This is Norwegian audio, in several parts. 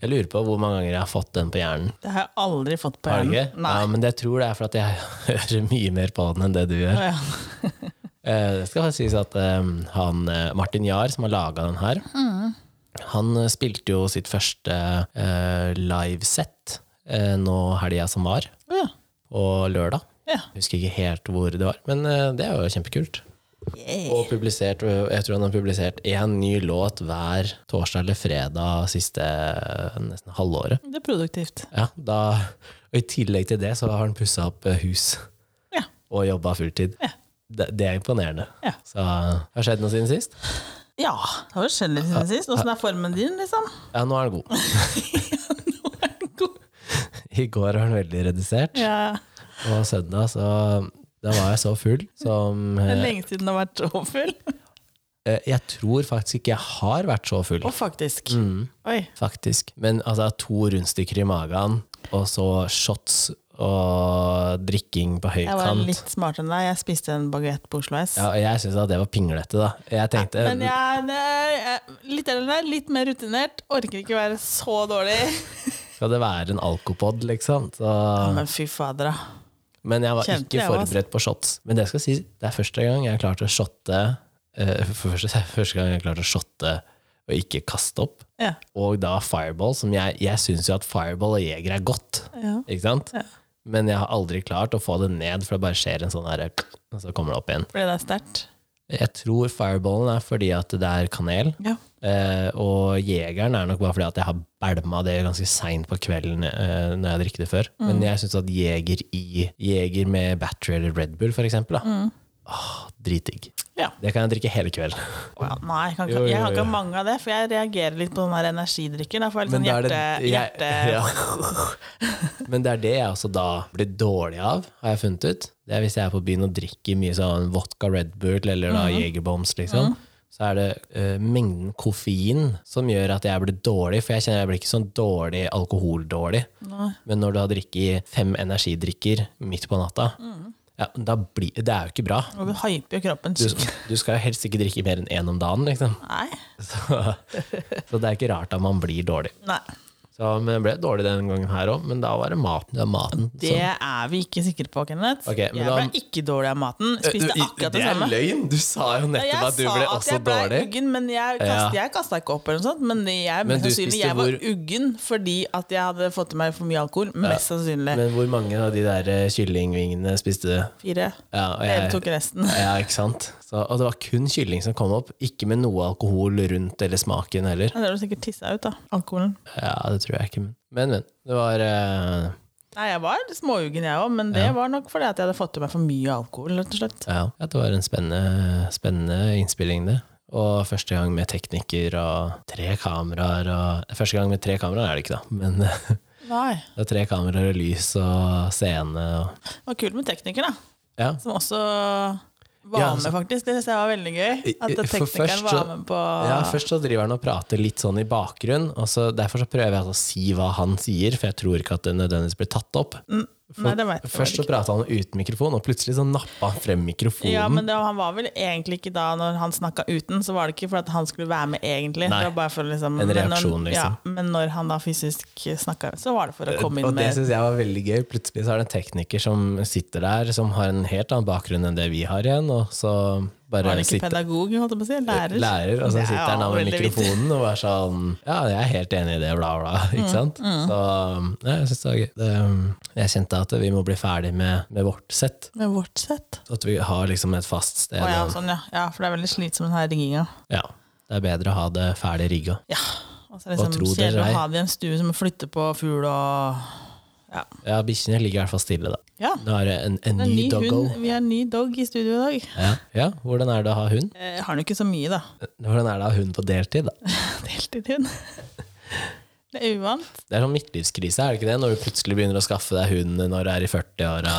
Jeg lurer på hvor mange ganger jeg har fått den på hjernen. Det har jeg aldri fått på Har du ikke? hjernen. Nei. Ja, men jeg tror det er for at jeg hører mye mer på den enn det du gjør. Å, ja. Eh, Det skal sies at eh, han, eh, Martin Jahr, som har laga den her, Mm. han eh, spilte jo sitt første eh, livesett eh, nå helga som var, Å, ja. på lørdag. Ja. Jeg Husker ikke helt hvor det var, men eh, det er jo kjempekult. Og publisert, jeg tror han har publisert én ny låt hver torsdag eller fredag siste eh, nesten halvåret. Det er produktivt. Ja, da, og I tillegg til det så har han pussa opp eh, hus Ja. og jobba fulltid. Ja. Det, det er imponerende. Ja. Så har skjedd noe siden sist? Ja, det har jo skjedd litt siden sist. Åssen er formen din, liksom? Ja, nå er den god. I går var den veldig redusert, Ja, og søndag så da var jeg så full som det er eh, lenge siden det har vært så full. eh, Jeg tror faktisk ikke jeg har vært så full, Og faktisk. Mm. Oi. faktisk. Men altså, to rundstykker i magen, og så shots og drikking på høy Jeg var kant. litt smartere enn deg. Jeg spiste en baguett på Oslo S. Ja, og jeg syns det var pinglete, da. Jeg tenkte Men jeg, det er- jeg litt eldre enn deg, litt mer rutinert. Orker ikke være så dårlig. Skal det være en alkopod, liksom? Så, Ja, men fy fader, da. men jeg var kjente ikke jeg også. forberedt på shots. Men det skal sies, det er første gang jeg har klart å shotte eh, for første, det er første gang jeg har klart å shotte og ikke kaste opp. Ja. Og da Fireball, som jeg, jeg syns jo at Fireball og Jeger er godt. Ja. Ikke sant? Ja. Men jeg har aldri klart å få det ned, for det bare skjer en sånn her og så kommer det opp igjen. Ble det sterkt? Jeg tror Fireballen er fordi at det er kanel. Ja. Eh, og Jegeren er nok bare fordi at jeg har bælma det ganske seint på kvelden eh, når jeg drikker det før. Men jeg syns at Jeger i Jeger med battery eller Red Bull, for eksempel, da. Åh, dritdigg. Ja. Det kan jeg drikke hele kvelden. Wow, nei, jeg kan, Jo, ikke, jo, jeg kan ikke jo. ha mange av det, for jeg reagerer litt på den der energidrikken. Da får jeg litt sånn da er hjerte... jeg- hjerte ja. Men det er det jeg også da blir dårlig av, har jeg funnet ut. Det er hvis jeg er på byen og drikker mye sånn vodka Red Bull eller da Mhm. Jegerbombs, liksom. Så er det eh, mengden koffein som gjør at jeg blir dårlig, for jeg kjenner jeg blir ikke sånn dårlig alkoholdårlig. Men når du har drikket fem energidrikker midt på natta, Mhm. ja, da blir, det er jo ikke bra. Og du hyper jo kroppen. Du, skikkelig. du skal jo helst ikke drikke mer enn én om dagen, liksom. Nei. Så, så det er ikke rart at man blir dårlig. nei. Så, men jeg ble dårlig den gangen her òg, men da var det maten. Det var maten Det er vi ikke sikre på, Kenneth. Sånn. Ok, men jeg da- Eh, ble ikke dårlig av maten. Spiste akkurat det samme. løgn! Du sa jo Ja, nettopp Jeg at du sa ble at også jeg ble dårlig. uggen, men jeg kast- jeg kasta ikke opp, eller noe sånt. Men jeg, Men mest du sannsynlig spiste jeg var hvor- uggen fordi at jeg hadde fått i meg for mye alkohol. Mest sannsynlig. Men hvor mange av de der eh, kyllingvingene spiste du? Fire. Ja, og Jeg tok resten. ja, ikke sant? Så, og det var kun kylling som kom opp, ikke med noe alkohol rundt eller smaken heller. Ja, Det har du sikkert tissa ut, da. Alkoholen. Ja, det tror jeg ikke, men Men, men. Det var eh, Nei, jeg var småuggen jeg òg, men det var nok fordi at jeg hadde fått i meg for mye alkohol, rett og slett. Ja, ja, det var en spennende, spennende innspilling det. Og første gang med teknikker og tre kameraer og Første gang med tre kameraer er det ikke, da, men det Nei. er tre kameraer og lys og scene og Det var kult med tekniker, da. Ja. Som også var Ja, altså- med, faktisk. Det synes jeg var veldig gøy. At For teknikeren først var så- med på Ja, først så driver han og prater litt sånn i bakgrunn, og så derfor så prøver jeg å si hva han sier, for jeg tror ikke at det nødvendigvis blir tatt opp. Mm, Nei, det vet jeg Først så ikke. prata han uten mikrofon, og plutselig så nappa han frem mikrofonen. Ja, men det, han var vel egentlig ikke da Når han snakka uten, så var det ikke for at han skulle være med egentlig. Nei. Det var bare for liksom, En men når- reaksjon, liksom. Eh, Ja, men når han da fysisk snakka, så var det for å komme Og det inn med syns jeg var veldig gøy. Plutselig så er det en tekniker som sitter der, som har en helt annen bakgrunn enn det vi har igjen, og så Var bare han ikke sitter pedagog, holdt jeg på å si? Lærer? Eh, Lærer, og så Det er sitter han da med veldig viktig. mikrofonen og er sånn Ja, jeg er helt enig i det, bla, bla. Ikke Mm, sant? Så ja, jeg syns det var gøy. Det, um, jeg kjente at vi må bli ferdig med, med vårt sett. Med vårt sett. At vi har liksom et fast sted. Å ja, og- sånn, ja. ja, for det er veldig slitsom den her rigginga. ja, det er bedre å ha det ferdig rigga. Ja. Og så er det Hva liksom tror dere kjedelig jeg? å ha det i en stue som flytter på fugl og Ja. Ja, bikkjene ligger i hvert fall stille, da. ja. Nå er det en, en Det er en ny ny doggo. hund. Vi har en ny dog i studio i dag. Ja. ja, hvordan er det å ha hund? Eh, har den jo ikke så mye, da. Hvordan er det å ha hund på deltid, da? Deltidhund. Det er uvant. Det er sånn midtlivskrise, er det ikke det? Når du plutselig begynner å skaffe deg hund når du er i 40-åra.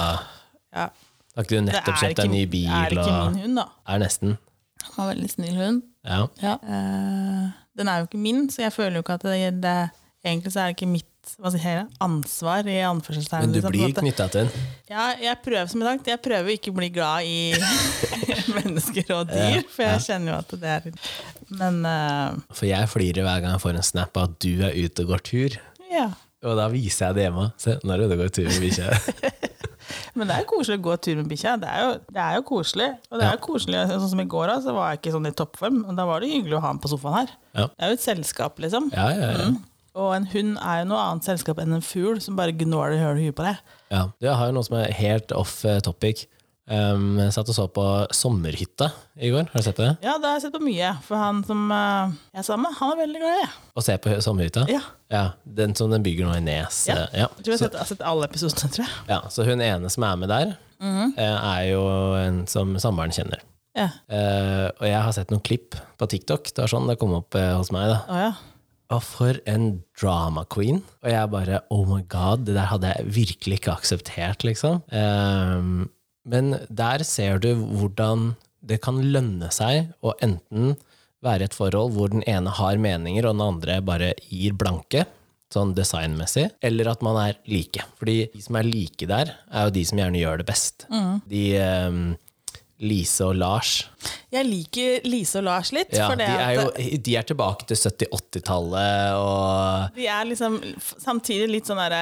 Ja. Har ikke du Det nettopp er kjøpt ikke, deg en ny det er bil? ikke Og... min hund, da. Er nesten. Han var en veldig snill hund. Ja. Eh, den er jo ikke min, så jeg føler jo ikke at det, det egentlig så er det ikke mitt hva sier jeg, ansvar i anførselstegn. Men du liksom, på en blir måte. knytta til den. Ja, jeg prøver som sagt. Jeg prøver å ikke bli glad i mennesker og dyr, for jeg kjenner jo at det er Men eh, For jeg flirer hver gang jeg får en snap av at du er ute og går tur. ja. Og da viser jeg det hjemme. Se, nå er du ute og går tur med bikkja. Men det er jo koselig å gå tur med bikkja. Det, er jo- det er jo koselig. Og det er jo koselig, sånn som i går, da, så var jeg ikke sånn i toppform. Men da var det hyggelig å ha den på sofaen her. Ja. Det er jo et selskap, liksom. Ja, ja, ja. Og en hund er jo noe annet selskap enn en fugl som bare gnår det i hølet huet på deg. ja. Du, jeg har jo noe som er helt off eh, topic. Um, jeg satt og så på Sommerhytta i går. Har du sett det? Ja, det har jeg sett på mye. For han som eh, jeg er sammen med, han er veldig glad i det. Å se på Sommerhytta? Ja. Den som den bygger nå i Nes. Ja. eh, ja. Jeg tror jeg har sett, jeg har sett alle episodene, tror jeg. Ja, så hun ene som er med der, Mm. eh, er jo en som samboeren kjenner. Ja. Eh, og jeg har sett noen klipp på TikTok. Det var sånn det kom opp eh, hos meg. da. Å ja. Og for en drama queen. Og jeg bare oh my god, det der hadde jeg virkelig ikke akseptert, liksom. Eh, men der ser du hvordan det kan lønne seg å enten være et forhold hvor den ene har meninger, og den andre bare gir blanke. Sånn designmessig, eller at man er like. Fordi de som er like der, er jo de som gjerne gjør det best. Mm. De eh, Lise og Lars, Jeg liker Lise og Lars litt. ja, for de det er at jo de er tilbake til 70-80-tallet og de er liksom f- samtidig litt sånn derre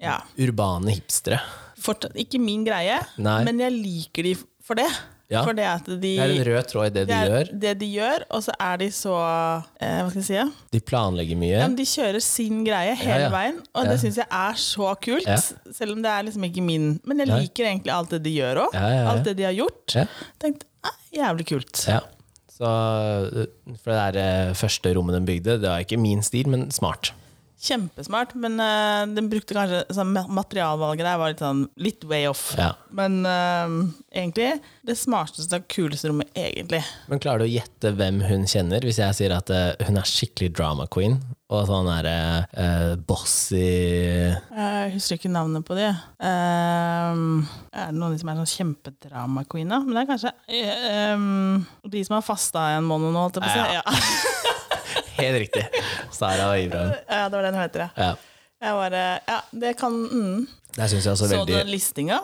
Ja, urbane hipstere. fortsatt ikke min greie, Nei. men jeg liker de f- for det. Ja. For det at de Det er en rød tråd i det de det er gjør. det de gjør, og så er de så eh, Hva skal jeg si? Ja? De planlegger mye. Ja, men de kjører sin greie hele Ja, ja. veien, og det syns jeg er så kult. Ja. Selv om det er liksom ikke min. Men jeg Nei. liker egentlig alt det de gjør òg. Ja, ja, ja. Alt det de har gjort. Ja. Tenkte, eh, Jævlig kult. Ja. Så, for det der eh, første rommet de bygde, det var ikke min stil, men smart. Kjempesmart, men eh, den brukte kanskje sånn, ma- Materialvalget der var litt sånn litt way off. Ja. Men eh, egentlig det smarteste og kuleste rommet, egentlig. Men klarer du å gjette hvem hun kjenner, hvis jeg sier at eh, hun er skikkelig drama queen? Og sånn der eh, eh, bossy Jeg husker ikke navnet på de. Ehm, er det noen av de som er sånn kjempedrama-queen, da? Men det er kanskje eh, ehm, de som har fasta i en måned nå, holdt jeg på å Ja, si. Ja. Helt riktig! Sara og Ibrahim. ja, det var det den heter, ja. Ja. Jeg bare Ja, det kan mm. Der syns jeg også Så du veldig den listinga?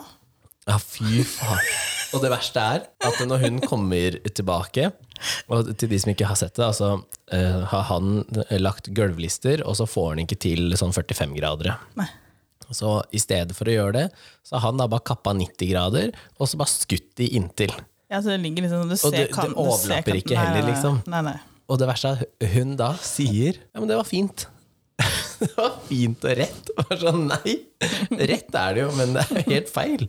Ja, fy faen. Og det verste er at når hun kommer tilbake, og til de som ikke har sett det, altså, eh, har han lagt gulvlister, og så får han ikke til sånn 45-gradere. Så i stedet for å gjøre det, så har han da bare kappa 90 grader, og så bare skutt de inntil. Ja, så det ligger liksom sånn, du ser det- det kanten, du ser overlapper kanten. ikke Nei, heller, nei, nei. liksom. Nei, nei. Og det verste er at hun da sier Ja, men det var fint. Det var fint og rett. Og bare sånn, nei, rett er det jo, men det er jo helt feil.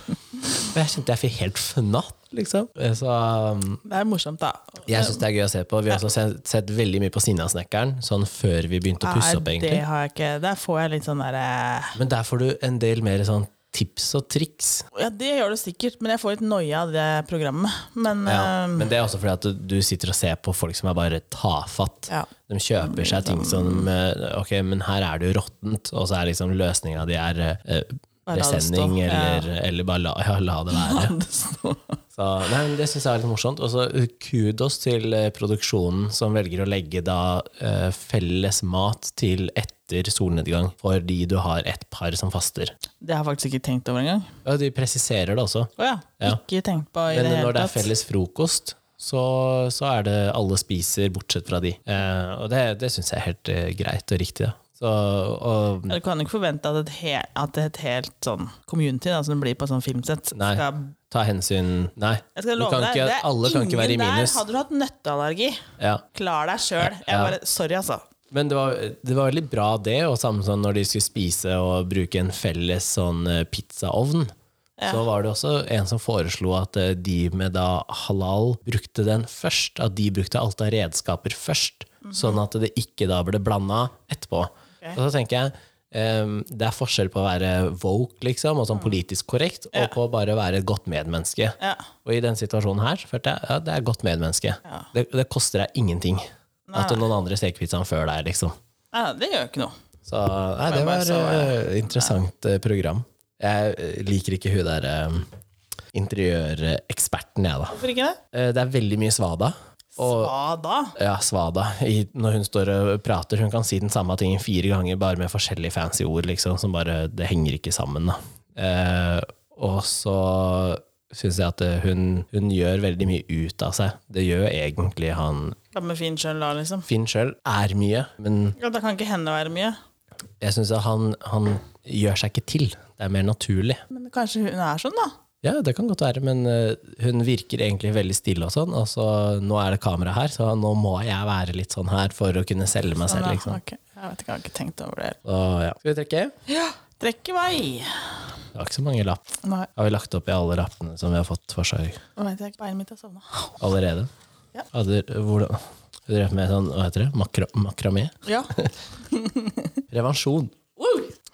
Og jeg kjente jeg fikk helt fnatt, liksom. Så um, Det er morsomt, da. jeg syns det er gøy å se på. Vi har også sett, sett veldig mye på Sinnasnekkeren, sånn før vi begynte å pusse opp, Nei, egentlig. Det har jeg ikke. Der får jeg litt sånn derre Men der får du en del mer sånn tips og triks. Ja, det gjør du sikkert, men jeg får litt noia av det programmet. Men Ja, eh, men det er også fordi at du- du sitter og ser på folk som er bare tafatt. Ja. De kjøper seg ting Mm. som eh, Ok, men her er det jo råttent, og så er liksom løsninga di er eh, Bare la det presenning, stå, ja. eller, eller bare la, ja, la det være. Så, nei, men det syns jeg er litt morsomt. Og så eh, kudos til eh, produksjonen som velger å legge da eh, felles mat til etter solnedgang, fordi du har et par som faster. det har jeg faktisk ikke tenkt over engang. Ja, de presiserer det også. Å ja. Ja. Ikke tenkt på i Men det hele når det er tatt. felles frokost, så, så er det alle spiser, bortsett fra de. Eh, og det, det syns jeg er helt eh, greit og riktig. Da. Så, og, Ja, Du kan jo ikke forvente at et, he at et helt sånn community da, som det blir på sånn filmsett nei, skal ta hensyn Nei. jeg skal du love kan deg, ikke, det er alle kan ikke være i ingen minus. Der hadde du hatt nøtteallergi. Ja. Klar deg sjøl. Jeg Ja. bare Sorry, altså. Men det var, det var veldig bra, det. Og samme som når de skulle spise og bruke en felles sånn eh, pizzaovn. Så var det også en som foreslo at eh, de med da halal brukte den først. At de brukte alt av redskaper først, Mhm. sånn at det ikke da ble blanda etterpå. Og så tenker jeg ehm, det er forskjell på å være woke liksom, og sånn politisk korrekt, og på å bare være et godt medmenneske. Mhm. Ja. Og i den situasjonen her så følte jeg ja, det er godt medmenneske. Det, det koster deg ingenting at noen andre steker pizzaen før deg, liksom. Ja, det gjør jo ikke noe. Så nei, det Men bare var så, eh, interessant eh, program. Jeg eh, liker ikke hun der eh, interiøreksperten, jeg, da. Hvorfor ikke det? Eh, Det er veldig mye svada. Og Svada? ja, Svada, i, når hun står og prater, hun kan si den samme tingen fire ganger, bare med forskjellige fancy ord, liksom, som bare Det henger ikke sammen, da. Eh, og så syns jeg at eh, hun, hun gjør veldig mye ut av seg. Det gjør egentlig han Sammen med Finn sjøl, da, liksom. Finn sjøl er mye, men Ja, da kan ikke henne være mye. jeg syns han, han gjør seg ikke til. Det er mer naturlig. Men kanskje hun er sånn, da? Ja, det kan godt være, men eh, hun virker egentlig veldig stille og sånn. Og så nå er det kamera her, så nå må jeg være litt sånn her for å kunne selge meg selv, Ja, liksom. ok. Jeg vet ikke, jeg har ikke tenkt over det. Så, ja. Skal vi trekke? Ja, trekk i vei! Det var ikke så mange lapp. Nei, Har vi lagt opp i alle lappene som vi har fått forslag nå vet jeg ikke. Beinet mitt har sovna. allerede? Ja. Hadde, hvordan? Du drev med sånn, hva heter det, Makra, makramé? Ja. Prevensjon.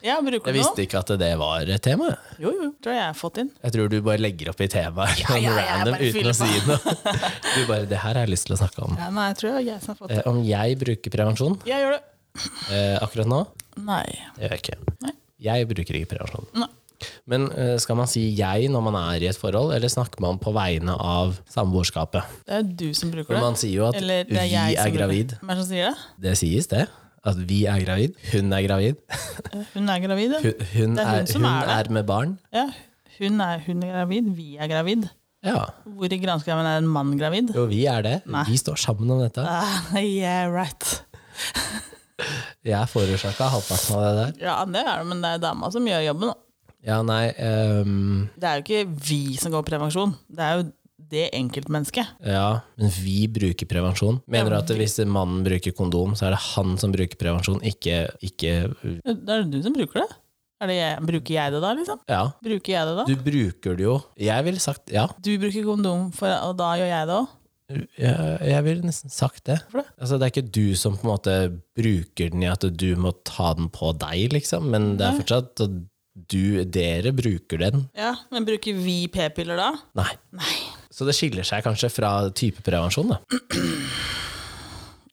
ja, Jeg bruker du noe? visste ikke at det var et tema. jeg. Jo, jo. Tror jeg jeg har fått inn. Jeg tror du bare legger opp i temaet ja, ja, random bare uten å si noe. Du bare, det her har jeg lyst til å snakke om. Ja, nei, jeg tror det er jeg som har fått Eh, inn. om jeg bruker prevensjon Jeg gjør det. eh, akkurat nå, Nei. det gjør jeg ikke. Nei. Jeg bruker ikke prevensjon. Nei. Men eh, skal man si jeg når man er i et forhold, eller snakker man på vegne av samboerskapet? Det er jo du som bruker For det. man sier jo at Eller det er vi jeg er som gravid. Hvem er det som sier det? Det sies det. At vi er gravid. Hun er gravid. Eh, Hun er gravid. ja. Hun, hun, Det er hun er, som hun er er, det. med barn. Ja, hun er, hun er gravid, vi er gravid. Ja. Hvor i granskraven er en mann gravid? Jo, vi er det. Nei. Vi står sammen om dette. Ah, yeah, right. Jeg forårsaka halvparten av det der. Ja, det er det, men det er dama som gjør jobben. da. Ja, nei ehm, Det er jo ikke vi som går prevensjon, det er jo det enkeltmennesket. Ja, men vi bruker prevensjon. Mener du at hvis mannen bruker kondom, så er det han som bruker prevensjon, ikke, ikke Det er jo du som bruker det. Er det jeg, bruker jeg det da, liksom? Ja. Bruker jeg det da? Du bruker det jo Jeg ville sagt ja. Du bruker kondom, for, og da gjør jeg det òg? Jeg, jeg ville nesten sagt det. Hvorfor det? Altså, det er ikke du som på en måte bruker den i at du må ta den på deg, liksom, men det er fortsatt at du, dere bruker den. Ja, men bruker vi p-piller da? Nei. Nei. Så det skiller seg kanskje fra type prevensjon, da.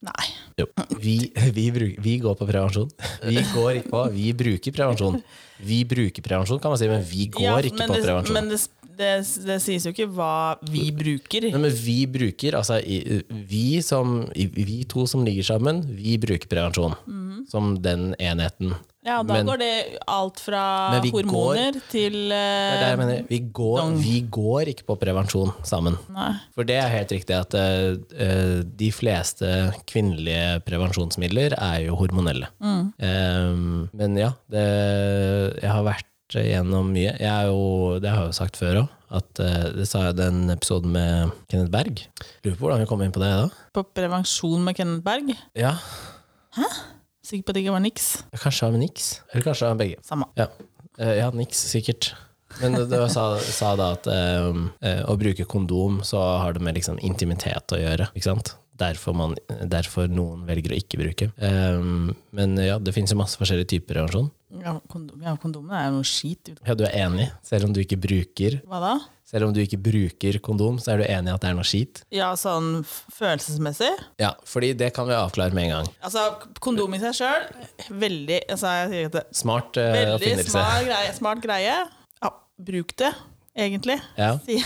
Nei. Jo. Vi, vi, bruk, vi går på prevensjon. Vi går ikke på, vi bruker prevensjon. Vi bruker prevensjon, kan man si, men vi går Ja, ikke men på det, prevensjon. Men det, det, det sies jo ikke hva vi bruker. Nei, men vi bruker, altså i- vi, som, i- vi to som ligger sammen, vi bruker prevensjon Mhm. som den enheten. Ja, og da Men- går det alt fra Men vi hormoner til Det er eh, det jeg mener. Vi går, vi går ikke på prevensjon sammen. Nei. For det er helt riktig at eh, eh, de fleste kvinnelige prevensjonsmidler er jo hormonelle. Eh, men ja, det, jeg har vært gjennom mye. Jeg er jo, det har jeg jo sagt før òg. det sa jeg i den episoden med Kenneth Berg. Lurer på hvordan vi kom inn på det da. På prevensjon med Kenneth Berg. Ja, Sikker på at det ikke var niks. Kanskje han niks. Eller kanskje han begge. Samme. Ja, Eh, ja niks, sikkert. Men det, det sa, sa da at eh, eh, å bruke kondom, så har det med liksom, intimitet å gjøre. Ikke sant? Derfor, man, derfor noen velger å ikke bruke. Eh, men ja, det finnes jo masse forskjellige typer prevensjon. Ja, kondom, ja, kondomen er jo noe skit. Ja, du er enig, selv om du ikke bruker Hva da? Selv om du ikke bruker kondom, så er du enig i at det er noe skit? Ja, sånn f- følelsesmessig. Ja, fordi det kan vi avklare med en gang. Altså, kondom i seg sjøl, veldig altså, jeg sier ikke det. Smart eh, Veldig oppfinnelse. smart greie. Smart greie. Ja, bruk det, egentlig. Ja, Si-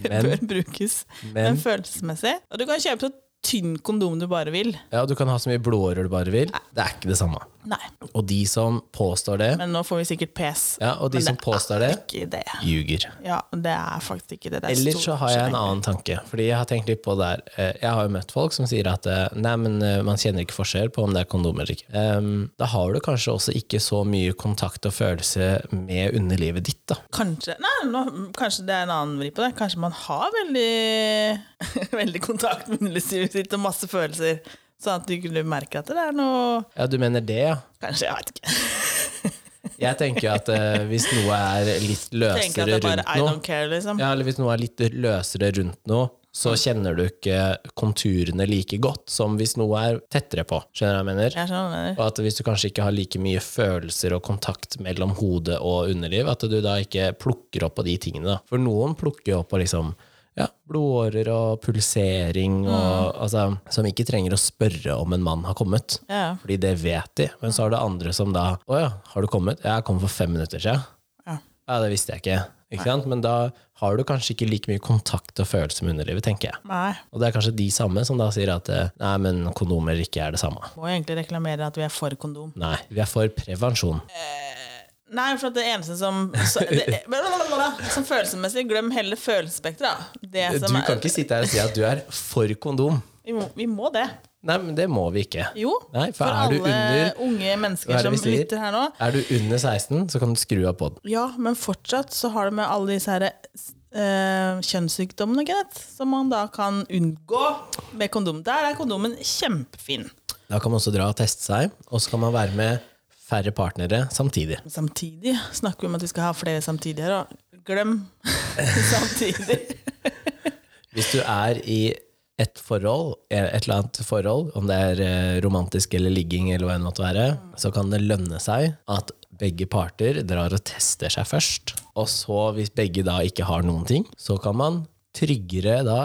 Det Men- bør brukes. Men men følelsesmessig. Og du kan kjøpe så tynn kondom du bare vil. ja, du kan ha så mye blåårer du bare vil. Det er ikke det samme. Nei. Og de som påstår det, Men nå får vi sikkert pes. ja, og de Men som påstår det, er Ikke det. ljuger. Ja, det er faktisk ikke det. det er Eller så stor har jeg en forskjell. annen tanke. Fordi Jeg har tenkt litt på det her. Eh, Jeg har jo møtt folk som sier at eh, nei, men eh, man kjenner ikke forskjell på om det er kondom eller ikke. Ehm, Da har du kanskje også ikke så mye kontakt og følelse med underlivet ditt. da. Kanskje, nei, nå, kanskje det er en annen vri på det. Kanskje man har veldig, veldig kontakt med underlivet sitt og masse følelser. Sånn at du kunne merke at det er noe Ja, Du mener det, ja. Kanskje, jeg vet ikke. Jeg tenker jo at eh, hvis noe er litt Tenker at løsere det er bare rundt I noe don't care, liksom. Ja, eller hvis noe er litt løsere rundt noe, så kjenner du ikke konturene like godt som hvis noe er tettere på. Skjønner du hva jeg mener? Jeg skjønner hva du mener. Og at hvis du kanskje ikke har like mye følelser og kontakt mellom hode og underliv, at du da ikke plukker opp på de tingene. Da. For noen plukker jo opp på liksom ja, blodårer og pulsering, og, altså, som ikke trenger å spørre om en mann har kommet. Ja, ja. Fordi det vet de. Men så har du andre som da Å ja, har du kommet? Ja, jeg kom for fem minutter siden. Ja. Ja, det visste jeg ikke. ikke sant? Men da har du kanskje ikke like mye kontakt og følelse med underlivet, tenker jeg. Nei. Og det er kanskje de samme som da sier at eh, nei, men kondomer eller ikke er det samme. Må jo egentlig reklamere at vi er for kondom. Nei, vi er for prevensjon. Nei, for at det eneste som så, det, Som følelsesmessig, glem heller følelsesspekteret. da. Det Du som er- kan ikke sitte her og si at du er for kondom. vi, må, vi må det. Nei, men det må vi ikke. Jo. Nei, for for er alle du under unge Hva mennesker er det som vi sier? lytter her nå. Er du under 16, så kan du skru av podden. Ja, men fortsatt så har du med alle disse her, eh, kjønnssykdommene, Kenneth, som man da kan unngå med kondom. Der er kondomen kjempefin. Da kan man også dra og teste seg, og så kan man være med færre partnere samtidig. Men Samtidig snakker vi om at vi skal ha flere samtidig her, og glem samtidig. Hvis du er i et forhold, et eller annet forhold, om det er eh, romantisk eller ligging, eller hva det måtte være, så kan det lønne seg at begge parter drar og tester seg først. Og så, hvis begge da ikke har noen ting, så kan man tryggere da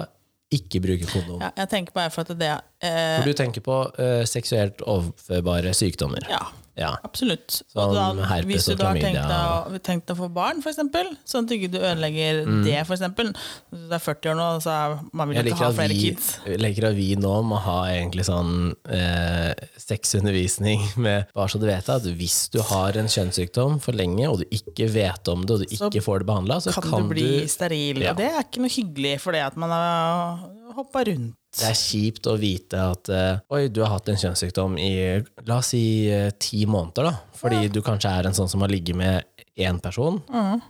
ikke bruke kondom. Ja, jeg tenker bare for at det eh, For du tenker på eh, seksuelt overførbare sykdommer. Ja, Ja. absolutt. Sånn Og herpes hvis du og da har tenkt klamydia. deg, å- tenkt deg å få barn, for eksempel, sånn at du ikke du ødelegger det, for eksempel. Hvis du er 40 år nå, så er- man vil Jeg ikke liker ha at, flere vi, kids. jeg liker at vi nå må ha egentlig sånn eh, sexundervisning med bare så du vet at hvis du har en kjønnssykdom for lenge, og du ikke vet om det, og du Så ikke får det behandla, så kan, du bli steril. Ja. Og det er ikke noe hyggelig for det at man har hoppa rundt. Det er kjipt å vite at eh, oi, du har hatt en kjønnssykdom i la oss si eh, ti måneder, da. Fordi du kanskje er en sånn som har ligget med én person, Mm.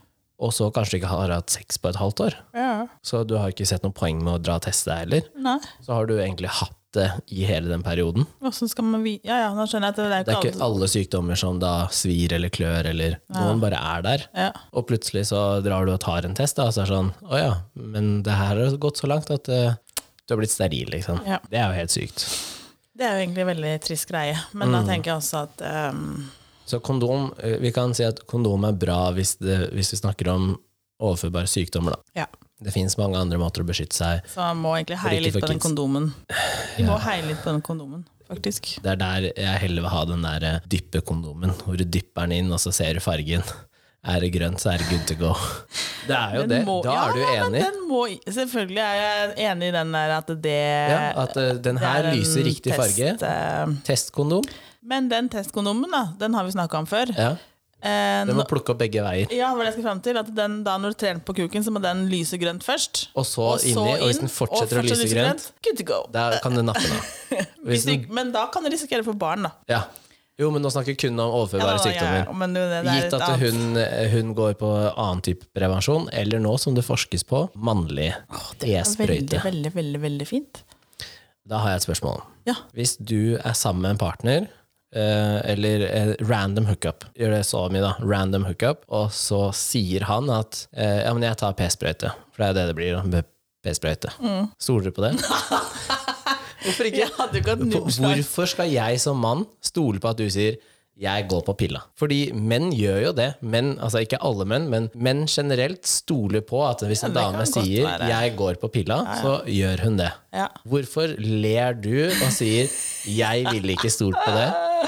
og så kanskje du ikke har hatt sex på et halvt år. Ja. Så du har ikke sett noe poeng med å dra og teste deg heller. Nei, Så har du egentlig hatt det i hele den perioden. hvordan skal man vi... Ja, ja, nå skjønner jeg at det er Det er ikke ikke alle alle sykdommer som da svir eller klør, eller noen bare er der. ja. Og plutselig så drar du og tar en test, da, og så er det sånn Å ja, men det her har gått så langt at eh, du har blitt steril, liksom. Ja. Det er jo helt sykt. Det er jo egentlig en veldig trist greie, men Mm. da tenker jeg også at ehm, Så kondom eh, Vi kan si at kondom er bra hvis, det, hvis vi snakker om overførbare sykdommer, da. Ja, Det fins mange andre måter å beskytte seg så man må egentlig heie Ikke litt for på den kids. kondomen. Vi må heie litt på den kondomen, faktisk. Det er der jeg heller vil ha den der eh, dyppe kondomen, hvor du dypper den inn, og så ser du fargen. Er det grønt, så er det good to go. Det er jo Den det. må- Da ja, er du ja, men enig. Den må, selvfølgelig er jeg enig i den der at det Ja, at eh, den det er her en lyser riktig test, farge. eh, Testkondom. men den testkondomen, da, den har vi snakka om før. Ja. Eh, Den må plukke opp begge veier. Ja, hva er det jeg skal frem til At den, da Når du trer den på kuken, så må den lyse grønt først. Og så inni, og hvis den fortsetter å lyse grønt, Good to go. da kan du nappe den av. Hvis Hvis du, den, men da kan du risikere for barn, da. ja. Jo, men nå snakker vi kun om overførbare Ja, da, ja, ja, sykdommer. men det, det er Gitt et at annet- hun, eh, hun går på annen type prevensjon, eller nå som det forskes på, mannlig Veldig, e-sprøyte. veldig, veldig veldig fint. Da har jeg et spørsmål. Ja. Hvis du er sammen med en partner, eh, eller eh, random hookup, gjør det så mye da, random hookup, og så sier han at eh, ja, men jeg tar p-sprøyte, for det er jo det det blir da, med p-sprøyte. Mm. Stoler du på det? Hvorfor ikke? Jeg hadde ikke hatt På- nubbslag. Hvorfor skal jeg som mann stole på at du sier jeg går på pilla. Fordi menn gjør jo det. Menn, altså ikke alle menn, men menn generelt stoler på at hvis en det kan dame godt sier være. 'jeg går på pilla', så gjør hun det. Ja. Hvorfor ler du og sier 'jeg ville ikke stolt på det'?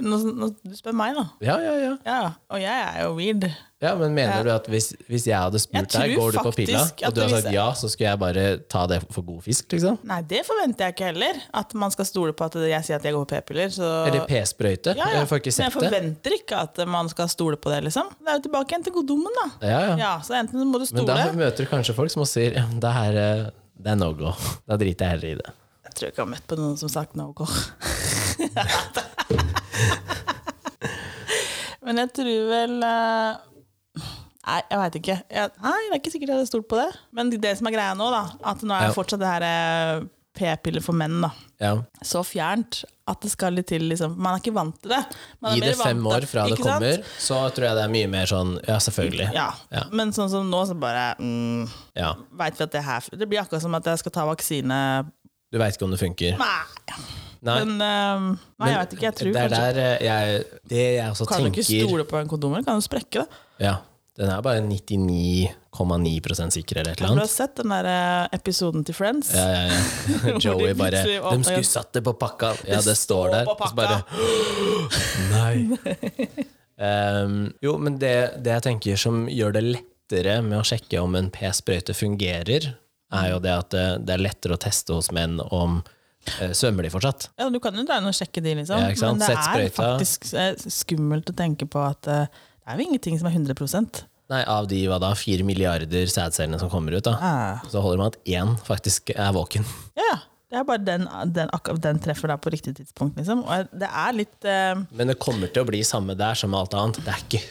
Nå, nå, du spør meg, da. Ja, ja, ja. Ja, Og jeg er jo weird. ja men mener du at hvis, hvis jeg hadde spurt Jeg deg tror går du på pilla, faktisk at og du hadde hvis- sagt ja, så skulle jeg bare ta det for god fisk, liksom? Nei, det forventer jeg ikke heller. At man skal stole på at jeg sier at jeg går på p-piller. Så... Eller p-sprøyte? Ja, ja. Jeg får ikke Men jeg sett det. forventer ikke at man skal stole på det, liksom. Det er jo tilbake igjen til goddommen, da. Ja, ja. Ja, så enten må Men du stole da møter du kanskje folk som også sier ja, det her eh, det er no go. Da driter jeg heller i det. Jeg tror jeg ikke har møtt på noen som har sagt no go. Men jeg tror vel eh, Nei, jeg veit ikke. Jeg, nei, Det er ikke sikkert jeg hadde stolt på det. Men det som er greia nå, da, at nå er Ja. det fortsatt det her eh, p-piller for menn, da. Ja. Så fjernt at det skal litt til, liksom. Man er ikke vant til det. Man er Gi det mer vant fem til- år fra det ikke sant? kommer, så tror jeg det er mye mer sånn ja, selvfølgelig. Ja. Ja. Men sånn som nå, så bare mm, Ja. vet vi at det her Det blir akkurat som at jeg skal ta vaksine Du veit ikke om det funker. Nei, Nei. men eh, Nei, jeg vet ikke. Jeg tror det er kanskje der eh, jeg Det jeg også Kan du ikke tenker stole på en kondom? eller Kan du sprekke det? Ja. Den er bare 99,9 sikker eller et Har eller du annet. sett den der eh, episoden til Friends? Ja, ja, ja. Hvor de Joey bare plutselig åpner- De skulle satt det på pakka! Ja, Det det står står der. på Og så bare Nei. Ehm, jo, men det, det jeg tenker som gjør det lettere med å sjekke om en p-sprøyte fungerer, er jo det at det, det er lettere å teste hos menn om eh, svømmer de fortsatt. Ja, du kan jo dra inn og sjekke de, liksom. Ja, ikke sant? Men det Sett er sprøyta. faktisk eh, skummelt å tenke på at eh, det er jo ingenting som er 100 Nei, av de hva da, fire milliarder sædcellene som kommer ut, da, ah. så holder man at én faktisk er våken. Ja, det er bare den, den, akkurat den treffer deg på riktig tidspunkt, liksom. Og jeg- det er litt eh, Men det kommer til å bli samme der som med alt annet. Det er ikke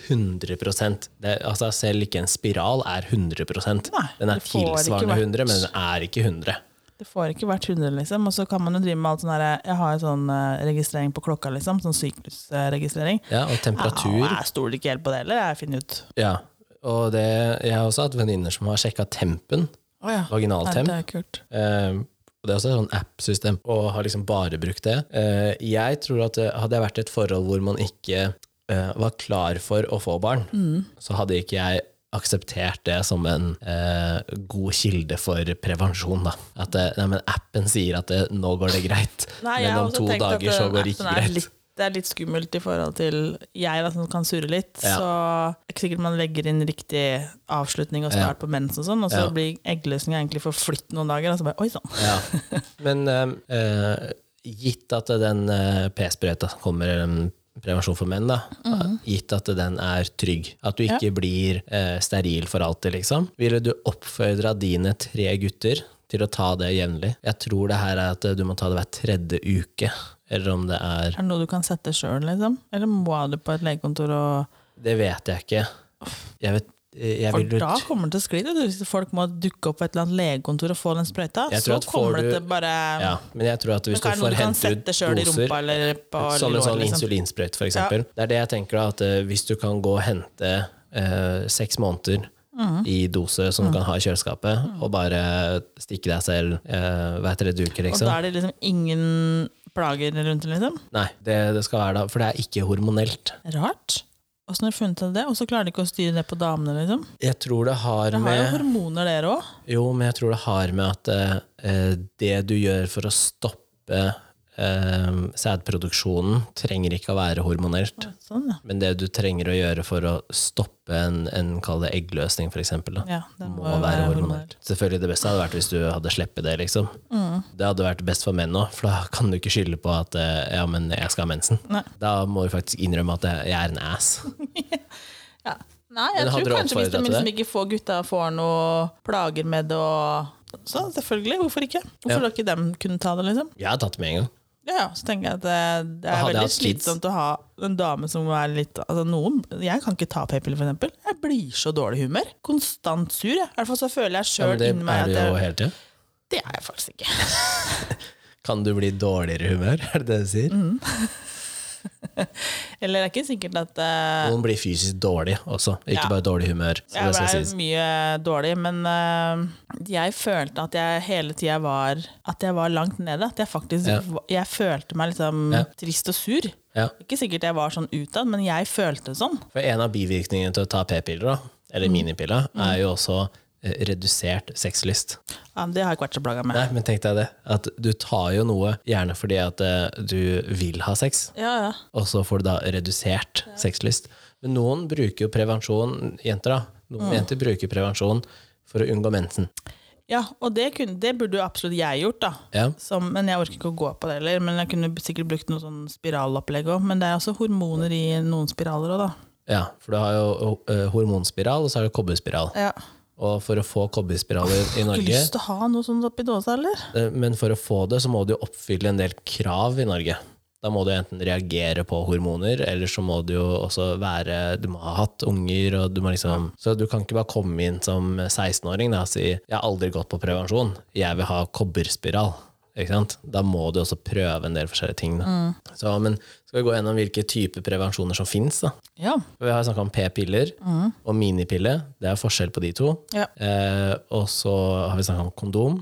100 det, altså Selv ikke en spiral er 100 Nei, Den er det får ikke tilsvarende vært- 100, men den er ikke 100. Det får ikke vært 100, liksom. Og så kan man jo drive med alt sånn her Jeg har jo sånn eh, registrering på klokka, liksom. Sånn syklusregistrering. Ja, og temperatur Ja, jeg stoler ikke helt på det heller, jeg finner ut. Ja, og det, jeg har også hatt venninner som har sjekka tempen, Oh, ja. vaginaltemp. Det er kult. Eh, og det er også et sånn app-system, og har liksom bare brukt det. Eh, jeg tror at det hadde jeg vært i et forhold hvor man ikke eh, var klar for å få barn, Mm. så hadde ikke jeg akseptert det som en eh, god kilde for prevensjon. Da. At det, nei, men appen sier at det, nå går det greit, Nei, men jeg har om også to tenkt at dager så den går det ikke appen er greit. Litt, det er litt skummelt i forhold til jeg da, som kan surre litt. Ja. Så det er ikke sikkert man legger inn riktig avslutning og Ja. start på mens og sånn, og så Ja. blir eggløsninga egentlig forflytt noen dager, og så bare oi sann. Ja. Men eh, eh, gitt at den eh, p-sprøyta som kommer eh, prevensjon for menn, da, Mhm. gitt at den er trygg, at du ikke blir eh, steril for alltid, liksom, ville du oppfordra dine tre gutter til å ta det jevnlig? Jeg tror det her er at eh, du må ta det hver tredje uke, eller om det er Er det noe du kan sette sjøl, liksom? Eller må du på et legekontor og Det vet jeg ikke. Jeg vet eh, jeg For vil jo da tr- kommer det til å skli. du. Hvis folk må dukke opp på et eller annet legekontor og få den sprøyta, Jeg tror så at får kommer du- det til bare ja, men jeg tror at hvis du Men hva er får det noe du kan hente ut sette sjøl i doser rumpa eller på Som en låret, sånn liksom? insulinsprøyt, f.eks. eksempel Det er det jeg tenker, da, at eh, hvis du kan gå og hente eh, seks måneder Mm. i dose som du kan ha i kjøleskapet, og bare stikke deg selv eh, hver tredje uke, Og liksom. da er det liksom ingen plager rundt det, liksom? Nei, det, det skal være da, for det er ikke hormonelt. Rart. Åssen har de funnet ut av det? Og så klarer de ikke å styre det på damene, liksom? Jeg tror det har Dere har jo med hormoner, dere òg. Jo, men jeg tror det har med at eh, eh, det du gjør for å stoppe eh, sædproduksjonen, trenger ikke å være hormonelt. Sånn, ja. Men det du trenger å gjøre for å stoppe en, en kall det eggløsning, for eksempel, da, ja det må være hormonell. Selvfølgelig det beste hadde vært hvis du hadde sleppet det, liksom. Mm. Det hadde vært best for menn òg, for da kan du ikke skylde på at eh, ja, men jeg skal ha mensen. Nei. Da må du faktisk innrømme at jeg er en ass. Ja. Nei, Men jeg hadde tror du kanskje hvis oppfordret de til liksom ikke får gutta får noe plager med det og Så selvfølgelig, hvorfor ikke? Hvorfor har ikke dem kunne ta det, liksom? Jeg har tatt det med en gang. Ja, ja, så tenker jeg at eh, det, det er hadde jeg veldig hatt kids. slitsomt å ha en dame som er litt altså noen, Jeg kan ikke ta p-piller, for eksempel. Jeg blir så dårlig humør. Konstant sur, jeg. I hvert fall så føler jeg Ja, men sjøl det inni meg er at du jo jeg, hele tida. Det er jeg faktisk ikke. Kan du bli i dårligere humør, er det det du sier? Mm. Eller det er ikke sikkert at eh, Noen blir fysisk dårlig også, ikke Ja. bare dårlig humør. Så det Jeg skal ble sies. mye dårlig, men øh, jeg følte at jeg hele tida var At jeg var langt nede. At jeg faktisk Ja. va- Jeg følte meg liksom Ja. trist og sur. Ja. Ikke sikkert jeg var sånn utad, men jeg følte det sånn. For en av bivirkningene til å ta p-piller, da, eller Mm. minipiller, er jo også eh, redusert sexlyst. Ja, men det har jeg ikke vært så plaga med. Nei, men tenk deg det. At du tar jo noe gjerne fordi at eh, du vil ha sex, Ja, ja. og så får du da redusert sexlyst. Men noen bruker jo prevensjon, jenter da. Noen jenter bruker prevensjon for å unngå mensen. ja og det, kunne, det burde jo absolutt jeg gjort, da. Ja. Som, men jeg orker ikke å gå på det heller. Men jeg kunne sikkert brukt noe sånn spiralopplegg òg. Men det er også hormoner i noen spiraler òg, da. ja, for du har jo eh, hormonspiral, og så har du kobberspiral. Ja. Og for å få kobberspiraler i Ikke Norge, lyst til å ha noe sånt oppi dåsa, eller? eh, men for å få det så må du jo oppfylle en del krav i Norge. Da må du enten reagere på hormoner, eller så må du jo også være Du må ha hatt unger, og du må liksom Så du kan ikke bare komme inn som 16-åring da, og si 'Jeg har aldri gått på prevensjon. Jeg vil ha kobberspiral'. Ikke sant? Da må du også prøve en del forskjellige ting. Da. Så, men skal vi gå gjennom hvilke typer prevensjoner som fins? da? Ja. Vi har snakka om p-piller og minipille. Det er forskjell på de to. Ja. Eh, og så har vi snakka om kondom.